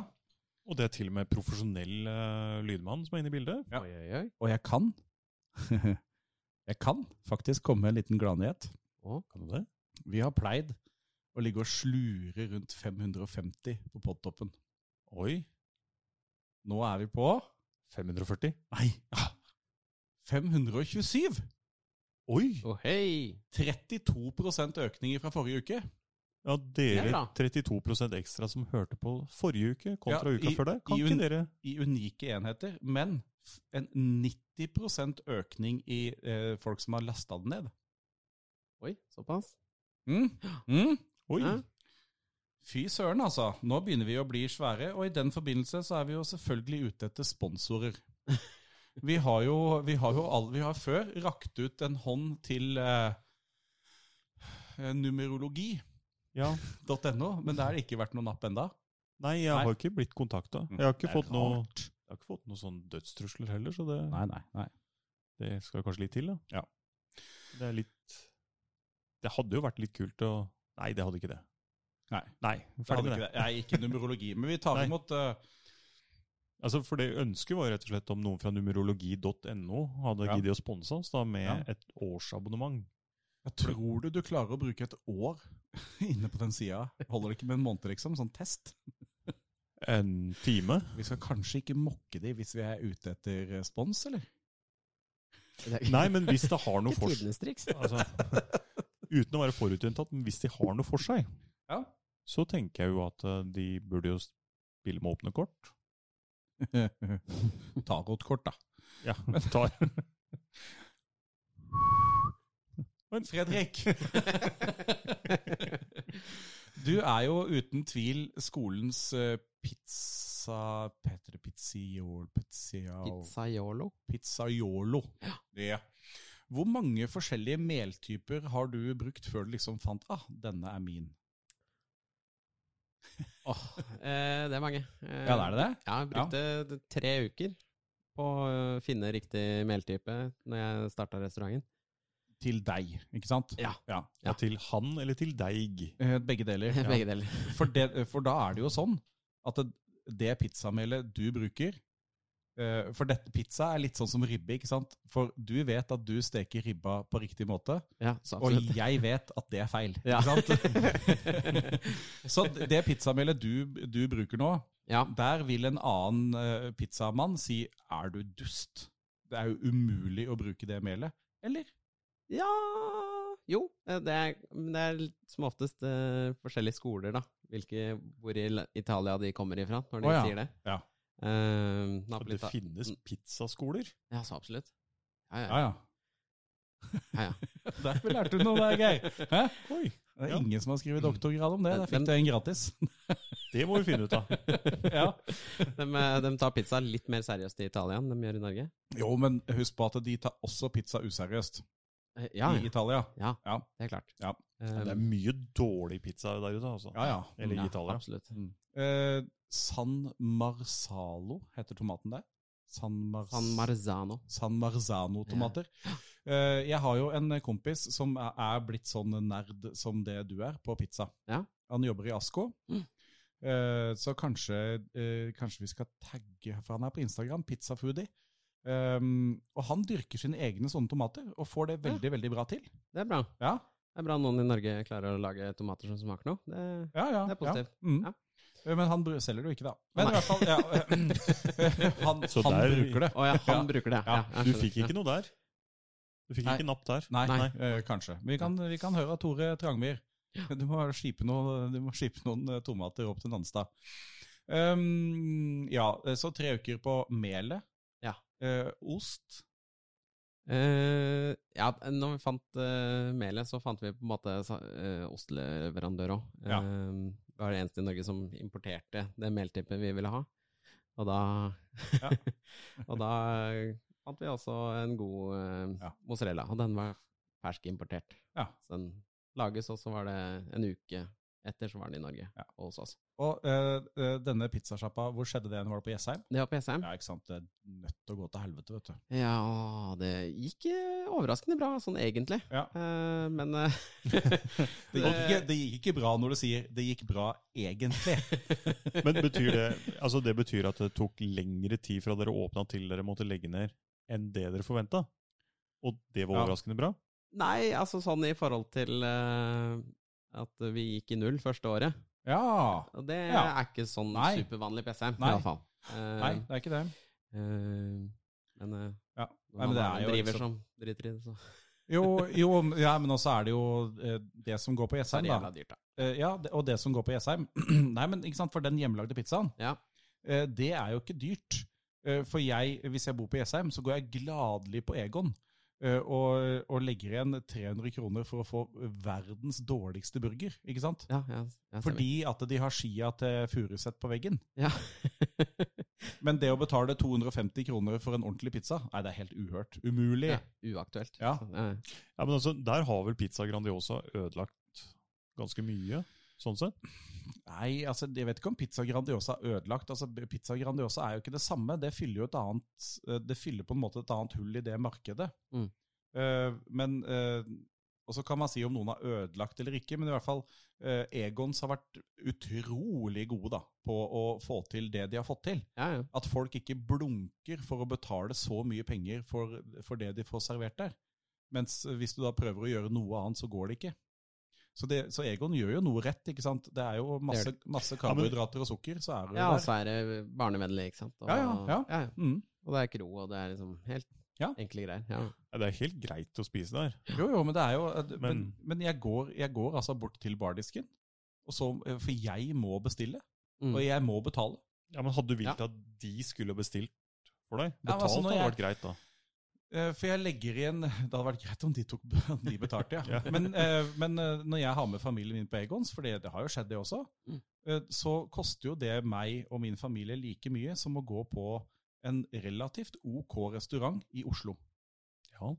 [SPEAKER 2] Og det er til og med profesjonell eh, lydmann som er inne i bildet.
[SPEAKER 1] Ja.
[SPEAKER 3] Oi, oi, oi.
[SPEAKER 1] og jeg kan Jeg kan faktisk komme med en liten gladnyhet.
[SPEAKER 3] Å,
[SPEAKER 2] Kan du det?
[SPEAKER 1] Vi har pleid å ligge og slure rundt 550 på podtoppen.
[SPEAKER 2] Oi,
[SPEAKER 1] Nå er vi på
[SPEAKER 2] 540.
[SPEAKER 1] Nei! ah, 527!
[SPEAKER 2] Oi!
[SPEAKER 3] å, hei!
[SPEAKER 1] 32 økning fra forrige uke.
[SPEAKER 2] Ja, dere
[SPEAKER 3] Ja,
[SPEAKER 2] 32 ekstra som hørte på forrige uke kontra
[SPEAKER 1] Ja,
[SPEAKER 2] uka
[SPEAKER 1] i-
[SPEAKER 2] før der. Kan
[SPEAKER 1] i
[SPEAKER 2] ikke
[SPEAKER 1] un-
[SPEAKER 2] dere
[SPEAKER 1] I unike enheter, men f- en 90 økning i eh, folk som har lasta den ned.
[SPEAKER 3] Oi, såpass.
[SPEAKER 1] Mm. Mm.
[SPEAKER 2] Oi!
[SPEAKER 3] Hæ?
[SPEAKER 1] Fy søren, altså. Nå begynner vi å bli svære, og i den forbindelse så er vi jo selvfølgelig ute etter sponsorer. Vi har jo, vi har jo all, vi har før rakt ut en hånd til eh, numerologi.no,
[SPEAKER 2] Ja.
[SPEAKER 1] men der har det ikke vært noen napp enda.
[SPEAKER 2] Nei, jeg
[SPEAKER 1] Nei.
[SPEAKER 2] har ikke blitt kontakta.
[SPEAKER 1] Mm,
[SPEAKER 2] Jeg har
[SPEAKER 1] det
[SPEAKER 2] ikke
[SPEAKER 1] er
[SPEAKER 2] fått noe
[SPEAKER 1] rart.
[SPEAKER 2] jeg har ikke fått noen sånn dødstrusler heller, så det,
[SPEAKER 1] Nei, nei, nei.
[SPEAKER 2] det skal kanskje litt til, da.
[SPEAKER 1] Ja.
[SPEAKER 2] Det er litt Det hadde jo vært litt kult å Nei, det hadde ikke det.
[SPEAKER 1] Nei.
[SPEAKER 2] Nei, ferdig med
[SPEAKER 1] ikke
[SPEAKER 2] det.
[SPEAKER 1] det. Nei, ikke numerologi, men vi tar
[SPEAKER 2] Nei.
[SPEAKER 1] imot eh,
[SPEAKER 2] Altså, for det ønsket var rett og slett om noen fra numerologi.no hadde
[SPEAKER 1] Ja.
[SPEAKER 2] giddet å sponse oss da med
[SPEAKER 1] Ja.
[SPEAKER 2] et årsabonnement.
[SPEAKER 1] jeg Tror du du klarer å bruke et år inne på den sida? Holder det ikke med en måned, liksom? Sånn test?
[SPEAKER 2] En time.
[SPEAKER 1] Vi skal kanskje ikke mokke de hvis vi er ute etter respons, eller?
[SPEAKER 3] Det er
[SPEAKER 2] Nei, men hvis det har noe
[SPEAKER 3] ikke
[SPEAKER 2] for
[SPEAKER 3] tidenes triks.
[SPEAKER 2] altså, Uten å være forutinntatt, men hvis de har noe for seg,
[SPEAKER 1] Ja.
[SPEAKER 2] så tenker jeg jo at eh, de burde jo spille med åpne kort.
[SPEAKER 1] Tarotkort, da.
[SPEAKER 2] Ja, tar.
[SPEAKER 1] Men Fredrik, du er jo uten tvil skolens eh, pizza... Petre Pizziol... Pizziol...
[SPEAKER 3] Pizzaiolo.
[SPEAKER 1] Pizzaiolo. Det. Hvor mange forskjellige meltyper har du brukt før du liksom fant ah, denne er min?
[SPEAKER 3] Eh, det er mange. Eh,
[SPEAKER 1] Ja, er det det?
[SPEAKER 3] Ja, jeg brukte d- tre uker på å finne riktig meltype når jeg starta restauranten.
[SPEAKER 1] Til deg, ikke sant?
[SPEAKER 3] Ja.
[SPEAKER 2] Ja. Til han eller til deig?
[SPEAKER 1] Eh, Begge deler. Ja.
[SPEAKER 3] Begge deler.
[SPEAKER 1] For, det, for da er det jo sånn at det, det pizzamelet du bruker eh, For dette pizza er litt sånn som ribbe, ikke sant? For du vet at du steker ribba på riktig måte,
[SPEAKER 3] Ja, så
[SPEAKER 1] og
[SPEAKER 3] absolutt.
[SPEAKER 1] jeg vet at det er feil.
[SPEAKER 3] Ja.
[SPEAKER 1] Ikke sant? Så det pizzamelet du, du bruker nå,
[SPEAKER 3] Ja,
[SPEAKER 1] der vil en annen eh, pizzamann si 'er du dust'? Det er jo umulig å bruke det melet. Eller?
[SPEAKER 3] Ja Jo, eh, det er, men det er litt som oftest eh, forskjellige skoler, da. Hvilke, hvor i La- Italia de kommer ifra, når de
[SPEAKER 1] Å, ja.
[SPEAKER 3] sier det.
[SPEAKER 1] Ja.
[SPEAKER 3] Eh,
[SPEAKER 2] At det
[SPEAKER 3] Napolita.
[SPEAKER 2] finnes pizzaskoler?
[SPEAKER 3] Ja, så absolutt. Ja, ja.
[SPEAKER 1] Ja, ja.
[SPEAKER 3] Ja,
[SPEAKER 1] Der lærte du noe der, Geir. Hæ?
[SPEAKER 2] Oi,
[SPEAKER 1] Det er
[SPEAKER 2] Ja.
[SPEAKER 1] ingen som har skrevet doktorgrad om det. Der
[SPEAKER 3] Mm. Men-
[SPEAKER 1] fikk du en gratis.
[SPEAKER 2] det må vi finne ut av.
[SPEAKER 1] ja.
[SPEAKER 3] De, eh, de tar pizza litt mer seriøst i Italia enn de gjør i Norge.
[SPEAKER 1] Jo, men husk på at de tar også pizza useriøst
[SPEAKER 3] Eh, Ja,
[SPEAKER 1] i
[SPEAKER 3] ja,
[SPEAKER 1] Italia.
[SPEAKER 3] det er klart.
[SPEAKER 1] Ja.
[SPEAKER 3] Eh,
[SPEAKER 2] Det er mye dårlig pizza der ute, altså.
[SPEAKER 1] Ja, ja.
[SPEAKER 2] Eller i
[SPEAKER 3] ja,
[SPEAKER 2] Italia.
[SPEAKER 3] Absolutt.
[SPEAKER 1] Eh, San Marzalo heter tomaten der. San, Mar
[SPEAKER 3] San Marzano.
[SPEAKER 1] San Marzano-tomater. Eh, jeg har jo en kompis som er- er blitt sånn nerd som det du er, på pizza.
[SPEAKER 3] Ja.
[SPEAKER 1] Han jobber i Asko.
[SPEAKER 3] Mm.
[SPEAKER 1] Eh, så kanskje, eh, kanskje vi skal tagge, for han er på Instagram, pizzafoodie. Um, og han dyrker sine egne sånne tomater, og får det veldig, veldig bra til.
[SPEAKER 3] Det er bra.
[SPEAKER 1] Ja,
[SPEAKER 3] Det er bra noen i Norge klarer å lage tomater som smaker noe. Det,
[SPEAKER 1] Ja, ja.
[SPEAKER 3] Det er positivt.
[SPEAKER 1] Ja. Mm.
[SPEAKER 3] Ja.
[SPEAKER 1] Eh, Men han br- selger det jo ikke, da. Men
[SPEAKER 3] Nei.
[SPEAKER 1] i hvert fall, ja, han,
[SPEAKER 2] Så
[SPEAKER 1] han
[SPEAKER 2] der-
[SPEAKER 1] bruker det.
[SPEAKER 3] å ja, han
[SPEAKER 1] Ja.
[SPEAKER 3] bruker det.
[SPEAKER 1] Ja,
[SPEAKER 2] Du fikk ikke noe der? Du fikk
[SPEAKER 1] Nei.
[SPEAKER 2] ikke napp der?
[SPEAKER 1] Nei,
[SPEAKER 3] Nei.
[SPEAKER 1] eh, kanskje. Men vi kan, vi kan høre av Tore Trangmyr. Du må skipe noen, du må skipe noen eh, tomater opp til Ehm, Nanstad. Um, ja, eh, så tre uker på melet.
[SPEAKER 3] Ja.
[SPEAKER 1] Eh, ost.
[SPEAKER 3] Eh, ja, når vi fant eh, melet, så fant vi på en måte sa- eh, osteleverandør òg.
[SPEAKER 2] Ja.
[SPEAKER 3] det var det eneste i Norge som importerte det meltypen vi ville ha. Og da,
[SPEAKER 2] Ja.
[SPEAKER 3] og da fant vi også en god eh,
[SPEAKER 1] Ja.
[SPEAKER 3] mozzarella, og den var fersk importert.
[SPEAKER 1] Ja.
[SPEAKER 3] Så den lages, og så var det en uke etter så var den i Norge
[SPEAKER 1] Ja.
[SPEAKER 3] og hos oss.
[SPEAKER 1] Og eh, eh, denne pizzasjappa, hvor skjedde det? Var det på Jessheim?
[SPEAKER 3] Det var på Jessheim.
[SPEAKER 1] Ja, ikke sant. Det er nødt til å gå til helvete, vet du.
[SPEAKER 3] Ja, og det gikk eh, overraskende bra, sånn egentlig.
[SPEAKER 1] Ja.
[SPEAKER 3] Eh, men eh,
[SPEAKER 1] Det gikk, ikke, det gikk ikke bra når du sier 'det gikk bra egentlig'.
[SPEAKER 2] Men betyr det altså det betyr at det tok lengre tid fra dere åpna til dere måtte legge ned, enn det dere forventa? Og det var
[SPEAKER 1] Ja.
[SPEAKER 2] overraskende bra?
[SPEAKER 3] Nei, altså sånn i forhold til eh, at vi gikk i null første året.
[SPEAKER 1] Ja.
[SPEAKER 3] Og det
[SPEAKER 1] Ja.
[SPEAKER 3] er ikke sånn
[SPEAKER 1] Nei.
[SPEAKER 3] supervanlig PC, i
[SPEAKER 1] Nei.
[SPEAKER 3] hvert fall. Eh,
[SPEAKER 1] Nei, det er ikke det.
[SPEAKER 3] eh, men eh,
[SPEAKER 1] Ja. Nei,
[SPEAKER 3] når
[SPEAKER 1] men
[SPEAKER 3] man
[SPEAKER 1] det
[SPEAKER 3] har
[SPEAKER 1] er
[SPEAKER 3] en
[SPEAKER 1] jo
[SPEAKER 3] driver
[SPEAKER 1] liksom-
[SPEAKER 3] som driter i det, så
[SPEAKER 1] Jo, jo ja, men også er det jo eh, det som går på
[SPEAKER 3] er
[SPEAKER 1] Jessheim,
[SPEAKER 3] det
[SPEAKER 1] da.
[SPEAKER 3] jævla dyrt, da.
[SPEAKER 1] Eh, Ja, det- og det som går på Jessheim. Nei, men ikke sant, for den hjemmelagde pizzaen,
[SPEAKER 3] Ja.
[SPEAKER 1] eh, det er jo ikke dyrt. Eh, For jeg, hvis jeg bor på Jessheim, så går jeg gladelig på Egon. eh, Og, og legger igjen 300 kroner for å få verdens dårligste burger, ikke sant?
[SPEAKER 3] Ja, ja, ja, stemmer.
[SPEAKER 1] Fordi at de har skia til Furuset på veggen.
[SPEAKER 3] ja.
[SPEAKER 1] Men det å betale 250 kroner for en ordentlig pizza, nei, det er helt uhørt. Umulig.
[SPEAKER 3] ja, Uaktuelt.
[SPEAKER 1] Ja.
[SPEAKER 3] Så, eh,
[SPEAKER 2] Ja, men altså, Der har vel Pizza Grandiosa ødelagt ganske mye, sånn sett?
[SPEAKER 1] Nei, altså, jeg vet ikke om Pizza Grandiosa er ødelagt. Altså, Pizza Grandiosa er jo ikke det samme. Det fyller jo et annet eh, Det fyller på en måte et annet hull i det markedet.
[SPEAKER 3] Mm.
[SPEAKER 1] Eh, men eh, Og så kan man si om noen har ødelagt eller ikke, men i hvert fall eh, Egons har vært utrolig gode da, på å få til det de har fått til.
[SPEAKER 3] ja, ja.
[SPEAKER 1] At folk ikke blunker for å betale så mye penger for, for det de får servert der. Mens hvis du da prøver å gjøre noe annet, så går det ikke. Så, det, så Egon gjør jo noe rett, ikke sant? Det altså. er jo masse, masse
[SPEAKER 2] Ja, men-
[SPEAKER 1] karbohydrater og sukker, så er det
[SPEAKER 3] ja
[SPEAKER 1] jo
[SPEAKER 3] og
[SPEAKER 1] der.
[SPEAKER 3] så er det barnevennlig, ikke sant. Og,
[SPEAKER 1] Ja, ja, ja. Mm.
[SPEAKER 3] Og det er kro, og det er liksom helt
[SPEAKER 1] Ja.
[SPEAKER 3] enkle greier. Ja.
[SPEAKER 2] Ja, Det er helt greit å spise der.
[SPEAKER 1] Jo, jo, men det er jo eh, Men,
[SPEAKER 2] Men-
[SPEAKER 1] men jeg, går, jeg går altså bort til bardisken, og så, eh, for jeg må bestille,
[SPEAKER 3] Mm.
[SPEAKER 1] og jeg må betale.
[SPEAKER 2] Ja, Men hadde du villet at de skulle bestilt for deg?
[SPEAKER 1] Ja, men altså,
[SPEAKER 2] Betalt
[SPEAKER 1] når
[SPEAKER 2] hadde
[SPEAKER 1] jeg-
[SPEAKER 2] vært greit, da.
[SPEAKER 1] Eh, For jeg legger igjen Det hadde vært greit om de, tok, om de betalte, ja.
[SPEAKER 2] Ja.
[SPEAKER 1] Men, eh, men eh, når jeg har med familien min på Egons, for det, det har jo skjedd det også,
[SPEAKER 3] Mm.
[SPEAKER 1] eh, så koster jo det meg og min familie like mye som å gå på en relativt OK restaurant i Oslo.
[SPEAKER 2] Ja.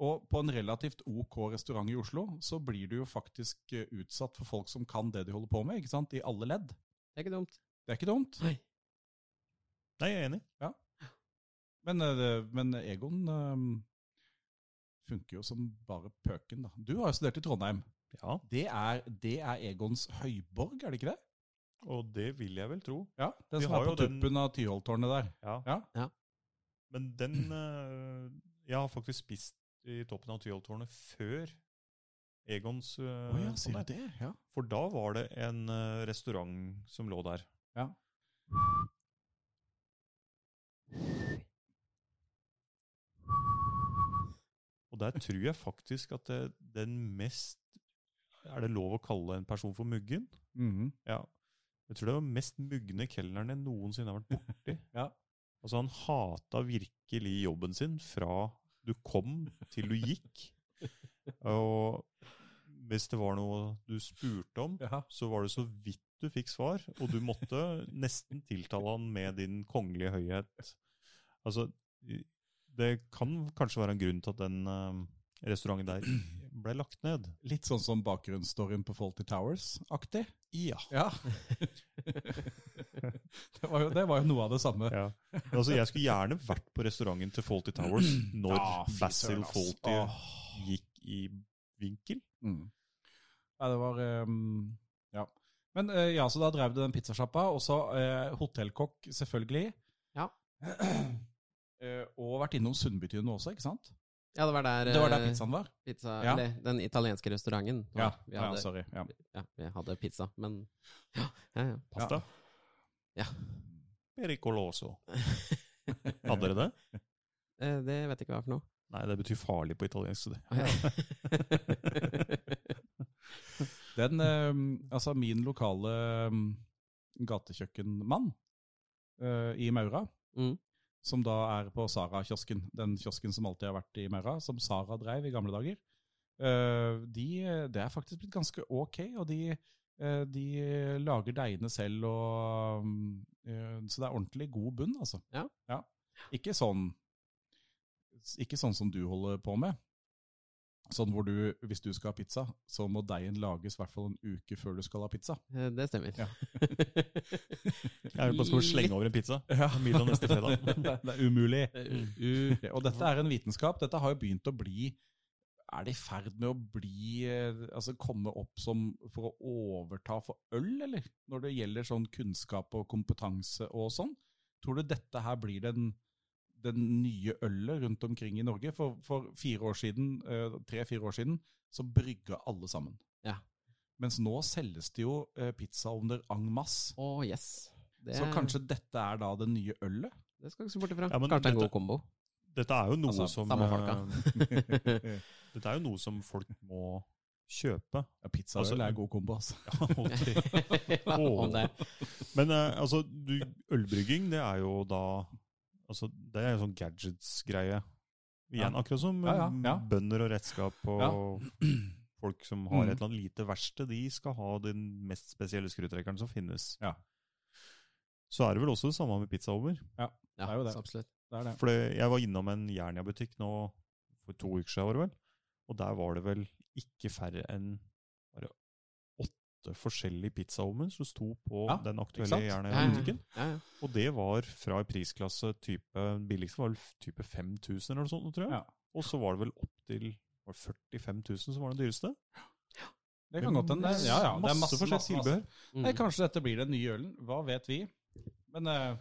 [SPEAKER 1] Og på en relativt OK restaurant i Oslo, så blir du jo faktisk eh, utsatt for folk som kan det de holder på med, ikke sant? I alle ledd.
[SPEAKER 3] Det er ikke dumt.
[SPEAKER 1] Det er ikke dumt.
[SPEAKER 3] Nei.
[SPEAKER 2] Nei, jeg er enig.
[SPEAKER 1] Men, eh, det- men Egon eh, funker jo som bare pøken, da. Du har jo studert i Trondheim.
[SPEAKER 2] Ja,
[SPEAKER 1] Det er, det er Egons høyborg, er det ikke det?
[SPEAKER 2] Og det vil jeg vel tro.
[SPEAKER 1] Ja, Den
[SPEAKER 2] Vi
[SPEAKER 1] som
[SPEAKER 2] har
[SPEAKER 1] er på
[SPEAKER 2] jo den-
[SPEAKER 1] tuppen av Tyholttårnet der.
[SPEAKER 2] Ja.
[SPEAKER 1] Ja.
[SPEAKER 3] Ja.
[SPEAKER 2] Men den
[SPEAKER 1] Mm.
[SPEAKER 2] eh, Jeg har faktisk spist i toppen av Tyholttårnet før Egons eh,
[SPEAKER 1] Å ja, sier
[SPEAKER 2] kom
[SPEAKER 1] du
[SPEAKER 2] der.
[SPEAKER 1] det? Ja.
[SPEAKER 2] For da var det en eh, restaurant som lå der. Og der tror jeg faktisk at det, den mest Er det lov å kalle en person for muggen?
[SPEAKER 1] Mhm.
[SPEAKER 2] Ja. Jeg tror det var mest mugne kelneren jeg noensinne har vært borti.
[SPEAKER 1] Ja.
[SPEAKER 2] Altså, han hata virkelig jobben sin fra du kom til du gikk. Og hvis det var noe du spurte om,
[SPEAKER 1] ja.
[SPEAKER 2] så var det så vidt du fikk svar, og du måtte nesten tiltale han med din kongelige høyhet. Altså, i- det kan kanskje være en grunn til at den eh, restauranten der ble lagt ned.
[SPEAKER 1] Litt sånn som bakgrunnsstoryen på Faulty Towers-aktig.
[SPEAKER 2] Ja.
[SPEAKER 1] Ja. det, var jo, det var jo noe av det samme.
[SPEAKER 2] Ja. Men altså, jeg skulle gjerne vært på restauranten til Faulty Towers når
[SPEAKER 1] Mm. Ja, fy
[SPEAKER 2] Basil
[SPEAKER 1] søren, ass.
[SPEAKER 2] Faulty
[SPEAKER 1] Åh.
[SPEAKER 2] gikk i vinkel.
[SPEAKER 1] Mm. Nei, det var ehm, Ja. Men eh, ja, så da drev du den pizzasjappa, og så eh, hotellkokk, selvfølgelig.
[SPEAKER 3] Ja.
[SPEAKER 1] Eh, og vært innom Sundbytun også, ikke sant?
[SPEAKER 3] Ja, det var der,
[SPEAKER 1] Det var der
[SPEAKER 3] eh,
[SPEAKER 1] pizzaen var.
[SPEAKER 3] pizza,
[SPEAKER 1] Ja.
[SPEAKER 3] Eller den italienske restauranten.
[SPEAKER 1] Ja,
[SPEAKER 3] vi
[SPEAKER 1] ja
[SPEAKER 3] hadde, ja,
[SPEAKER 1] sorry. Ja.
[SPEAKER 3] vi hadde pizza, men Ja, ja, ja.
[SPEAKER 2] Pasta.
[SPEAKER 3] Ja.
[SPEAKER 2] Pericoloso. Hadde dere det?
[SPEAKER 3] Eh, Det vet jeg ikke hva er for noe.
[SPEAKER 2] Nei, det betyr farlig på italiensk. så det-
[SPEAKER 1] Den, eh, altså min lokale ehm, eh, gatekjøkkenmann eh, i Maura,
[SPEAKER 3] Mm.
[SPEAKER 1] som da er på Sara-kiosken. Den kiosken som alltid har vært i Maura, som Sara dreiv i gamle dager. Eh, de, det er faktisk blitt ganske ok, og de, eh, de lager deigene selv, og, eh, så det er ordentlig god bunn, altså.
[SPEAKER 3] Ja.
[SPEAKER 1] Ikke, sånn, ikke sånn som du holder på med. Sånn hvor du, Hvis du skal ha pizza, så må deigen lages i hvert fall en uke før du skal ha pizza.
[SPEAKER 3] Eh, Det stemmer.
[SPEAKER 1] Ja.
[SPEAKER 2] Jeg er jo på skolen å
[SPEAKER 3] Litt-
[SPEAKER 2] slenge over en pizza.
[SPEAKER 1] Ja.
[SPEAKER 2] Middag neste fredag.
[SPEAKER 1] det er umulig.
[SPEAKER 3] U-
[SPEAKER 1] Og dette er en vitenskap. Dette har jo begynt å bli Er det i ferd med å bli eh, Altså komme opp som for å overta for øl, eller? Når det gjelder sånn kunnskap og kompetanse og sånn? Tror du dette her blir den den nye ølet rundt omkring i Norge. For, for fire år siden, tre-fire år siden, så brygga alle sammen.
[SPEAKER 3] Ja.
[SPEAKER 1] Mens nå selges det jo eh, pizzaovner en masse.
[SPEAKER 3] Å, yes. Det,
[SPEAKER 1] Så kanskje dette er da det nye ølet?
[SPEAKER 3] Det skal du ikke se bort ifra.
[SPEAKER 2] Ja, men
[SPEAKER 3] kanskje det er en
[SPEAKER 2] dette-
[SPEAKER 3] god kombo.
[SPEAKER 2] Dette er jo noe
[SPEAKER 3] Altså,
[SPEAKER 2] som
[SPEAKER 3] samme
[SPEAKER 2] eh, Dette er jo noe som folk må kjøpe.
[SPEAKER 1] Ja, pizza og
[SPEAKER 2] Altså,
[SPEAKER 1] øl er god kombo, altså.
[SPEAKER 2] Ja, ok.
[SPEAKER 3] Ja, om det.
[SPEAKER 2] Men eh, altså, du, ølbrygging, det er jo da altså, Det er jo sånn gadgets-greie. Igjen,
[SPEAKER 1] Ja.
[SPEAKER 2] akkurat som
[SPEAKER 1] Ja, ja,
[SPEAKER 2] eh,
[SPEAKER 1] ja.
[SPEAKER 2] bønder og redskap og folk som har
[SPEAKER 1] Mm.
[SPEAKER 2] et eller annet lite verksted, de skal ha den mest spesielle skrutrekkeren som finnes.
[SPEAKER 1] Ja.
[SPEAKER 2] Så er det vel også det samme med pizzaovner.
[SPEAKER 3] Ja,
[SPEAKER 1] Det er jo det.
[SPEAKER 3] så Absolutt.
[SPEAKER 1] Det er det.
[SPEAKER 2] For det- jeg var innom en Jernia-butikk nå for to uker siden, var det vel? Og der var det vel ikke færre enn bare åtte forskjellige pizzaovner som sto på
[SPEAKER 1] Ja,
[SPEAKER 2] den
[SPEAKER 1] ikke sant?
[SPEAKER 2] aktuelle
[SPEAKER 3] Ja, ja.
[SPEAKER 2] Jernia-butikken.
[SPEAKER 3] Ja, ja.
[SPEAKER 2] Og det var fra en prisklasse type Den billigste var vel type 5000 eller noe sånt, tror jeg.
[SPEAKER 1] Ja.
[SPEAKER 2] Og så var det vel opp til var det 45 000 som var den dyreste.
[SPEAKER 1] Det kan godt hende. det. Ja, ja. Det er masse,
[SPEAKER 2] forskjellig
[SPEAKER 1] masse, masse.
[SPEAKER 2] tilbehør.
[SPEAKER 3] Mm.
[SPEAKER 1] Nei, kanskje dette blir den nye ølen. Hva vet vi? Men eh,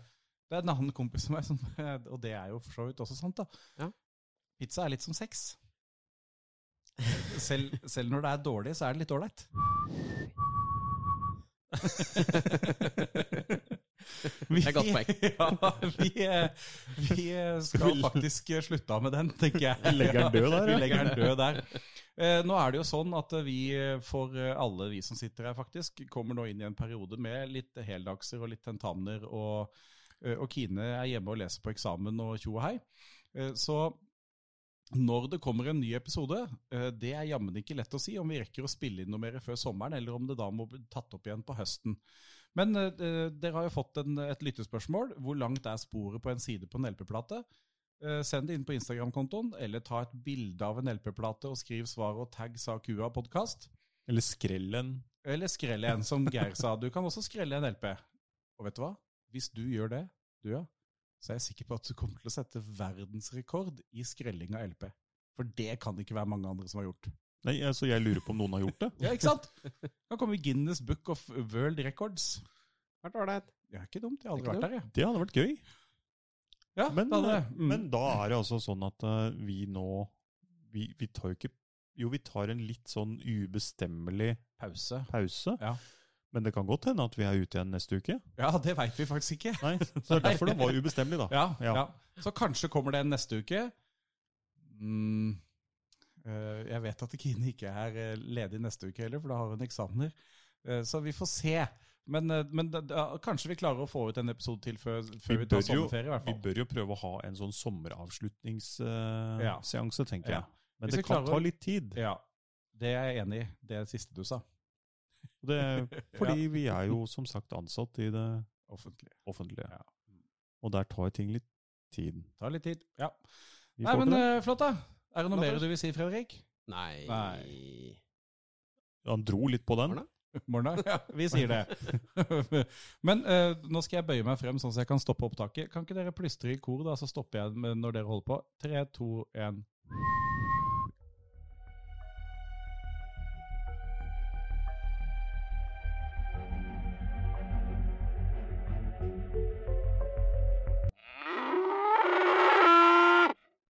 [SPEAKER 1] det er en annen kompis av meg som Og det er jo for så vidt også sant, da.
[SPEAKER 3] Ja.
[SPEAKER 1] Pizza er litt som sex. Selv, selv når det er dårlig, så er det litt ålreit.
[SPEAKER 3] Det er godt poeng.
[SPEAKER 1] Ja, vi, eh, vi eh, skal faktisk eh, slutte av med den, tenker jeg.
[SPEAKER 2] Vi legger den død der,
[SPEAKER 1] Vi
[SPEAKER 2] ja.
[SPEAKER 1] legger den død der. Eh, Nå er det jo sånn at eh, vi, eh, for eh, alle vi som sitter her faktisk, kommer nå inn i en periode med litt heldagser og litt tentamener, og, eh, og Kine er hjemme og leser på eksamen og tjo og hei. Eh, Så når det kommer en ny episode, eh, det er jammen ikke lett å si om vi rekker å spille inn noe mer før sommeren, eller om det da må bli tatt opp igjen på høsten. Men eh, eh, dere har jo fått en, et lyttespørsmål. Hvor langt er sporet på en side på en LP-plate? Eh, Send det inn på Instagram-kontoen, eller ta et bilde av en LP-plate og skriv svaret og tagg sa kua podkast.
[SPEAKER 2] Eller skrellen.
[SPEAKER 1] Eller skrelle en, som Geir sa. Du kan også skrelle en LP. Og vet du hva? Hvis du gjør det, du ja, så er jeg sikker på at du kommer til å sette verdensrekord i skrelling av LP. For det kan det ikke være mange andre som har gjort.
[SPEAKER 2] Nei, altså jeg lurer på om noen har gjort det.
[SPEAKER 1] Ja, ikke sant? Da kommer Guinness Book of World Records.
[SPEAKER 3] Vært ålreit.
[SPEAKER 1] Det er ikke dumt, jeg har aldri
[SPEAKER 3] Det er ikke
[SPEAKER 1] vært der, jeg.
[SPEAKER 2] Det hadde vært gøy.
[SPEAKER 1] Ja,
[SPEAKER 2] Men,
[SPEAKER 1] da hadde-
[SPEAKER 2] eh,
[SPEAKER 1] mm.
[SPEAKER 2] men da er det altså sånn at eh, vi nå vi, vi tar jo ikke Jo, vi tar en litt sånn ubestemmelig
[SPEAKER 1] Pause.
[SPEAKER 2] pause.
[SPEAKER 1] Ja.
[SPEAKER 2] Men det kan godt hende at vi er ute igjen neste uke.
[SPEAKER 1] Ja, det veit vi faktisk ikke.
[SPEAKER 2] Nei, Så det er derfor det var ubestemmelig, da.
[SPEAKER 1] Ja, ja.
[SPEAKER 2] Ja.
[SPEAKER 1] Så kanskje kommer det en neste uke. Mm. eh, Jeg vet at Kine ikke er eh, ledig neste uke heller, for da har hun eksamener. Eh, Så vi får se. Men, eh, men da, da, kanskje vi klarer å få ut en episode til før,
[SPEAKER 2] Vi
[SPEAKER 1] før vi, tar
[SPEAKER 2] bør jo-
[SPEAKER 1] sommerferie, i hvert
[SPEAKER 2] Vi
[SPEAKER 1] fall.
[SPEAKER 2] bør jo prøve å ha en sånn
[SPEAKER 1] Ja.
[SPEAKER 2] sommeravslutningsseanse, tenker
[SPEAKER 1] Ja.
[SPEAKER 2] jeg. Men
[SPEAKER 1] Hvis vi
[SPEAKER 2] det kan
[SPEAKER 1] klarer
[SPEAKER 2] ta
[SPEAKER 1] å-
[SPEAKER 2] litt tid.
[SPEAKER 1] Ja, det er jeg enig i. Det er det siste du sa.
[SPEAKER 2] Og Det, Eh, fordi vi er jo som sagt ansatt i det
[SPEAKER 1] Offentlig.
[SPEAKER 2] offentlige.
[SPEAKER 1] Ja.
[SPEAKER 2] Og der tar ting litt tid.
[SPEAKER 1] Tar litt tid. Ja.
[SPEAKER 2] Vi
[SPEAKER 1] Nei,
[SPEAKER 2] får
[SPEAKER 1] men
[SPEAKER 2] til det.
[SPEAKER 1] eh, flott, da. Er det noe
[SPEAKER 3] Flott,
[SPEAKER 1] mer
[SPEAKER 3] da.
[SPEAKER 1] du vil si, Fredrik?
[SPEAKER 3] Nei.
[SPEAKER 1] Nei.
[SPEAKER 2] Han dro litt på den.
[SPEAKER 3] Hvordan?
[SPEAKER 1] Morna. Ja, vi sier det. Men eh, nå skal jeg bøye meg frem sånn så jeg kan stoppe opptaket. Kan ikke dere plystre i kor, da, så stopper jeg med når dere holder på? Tre, to, én.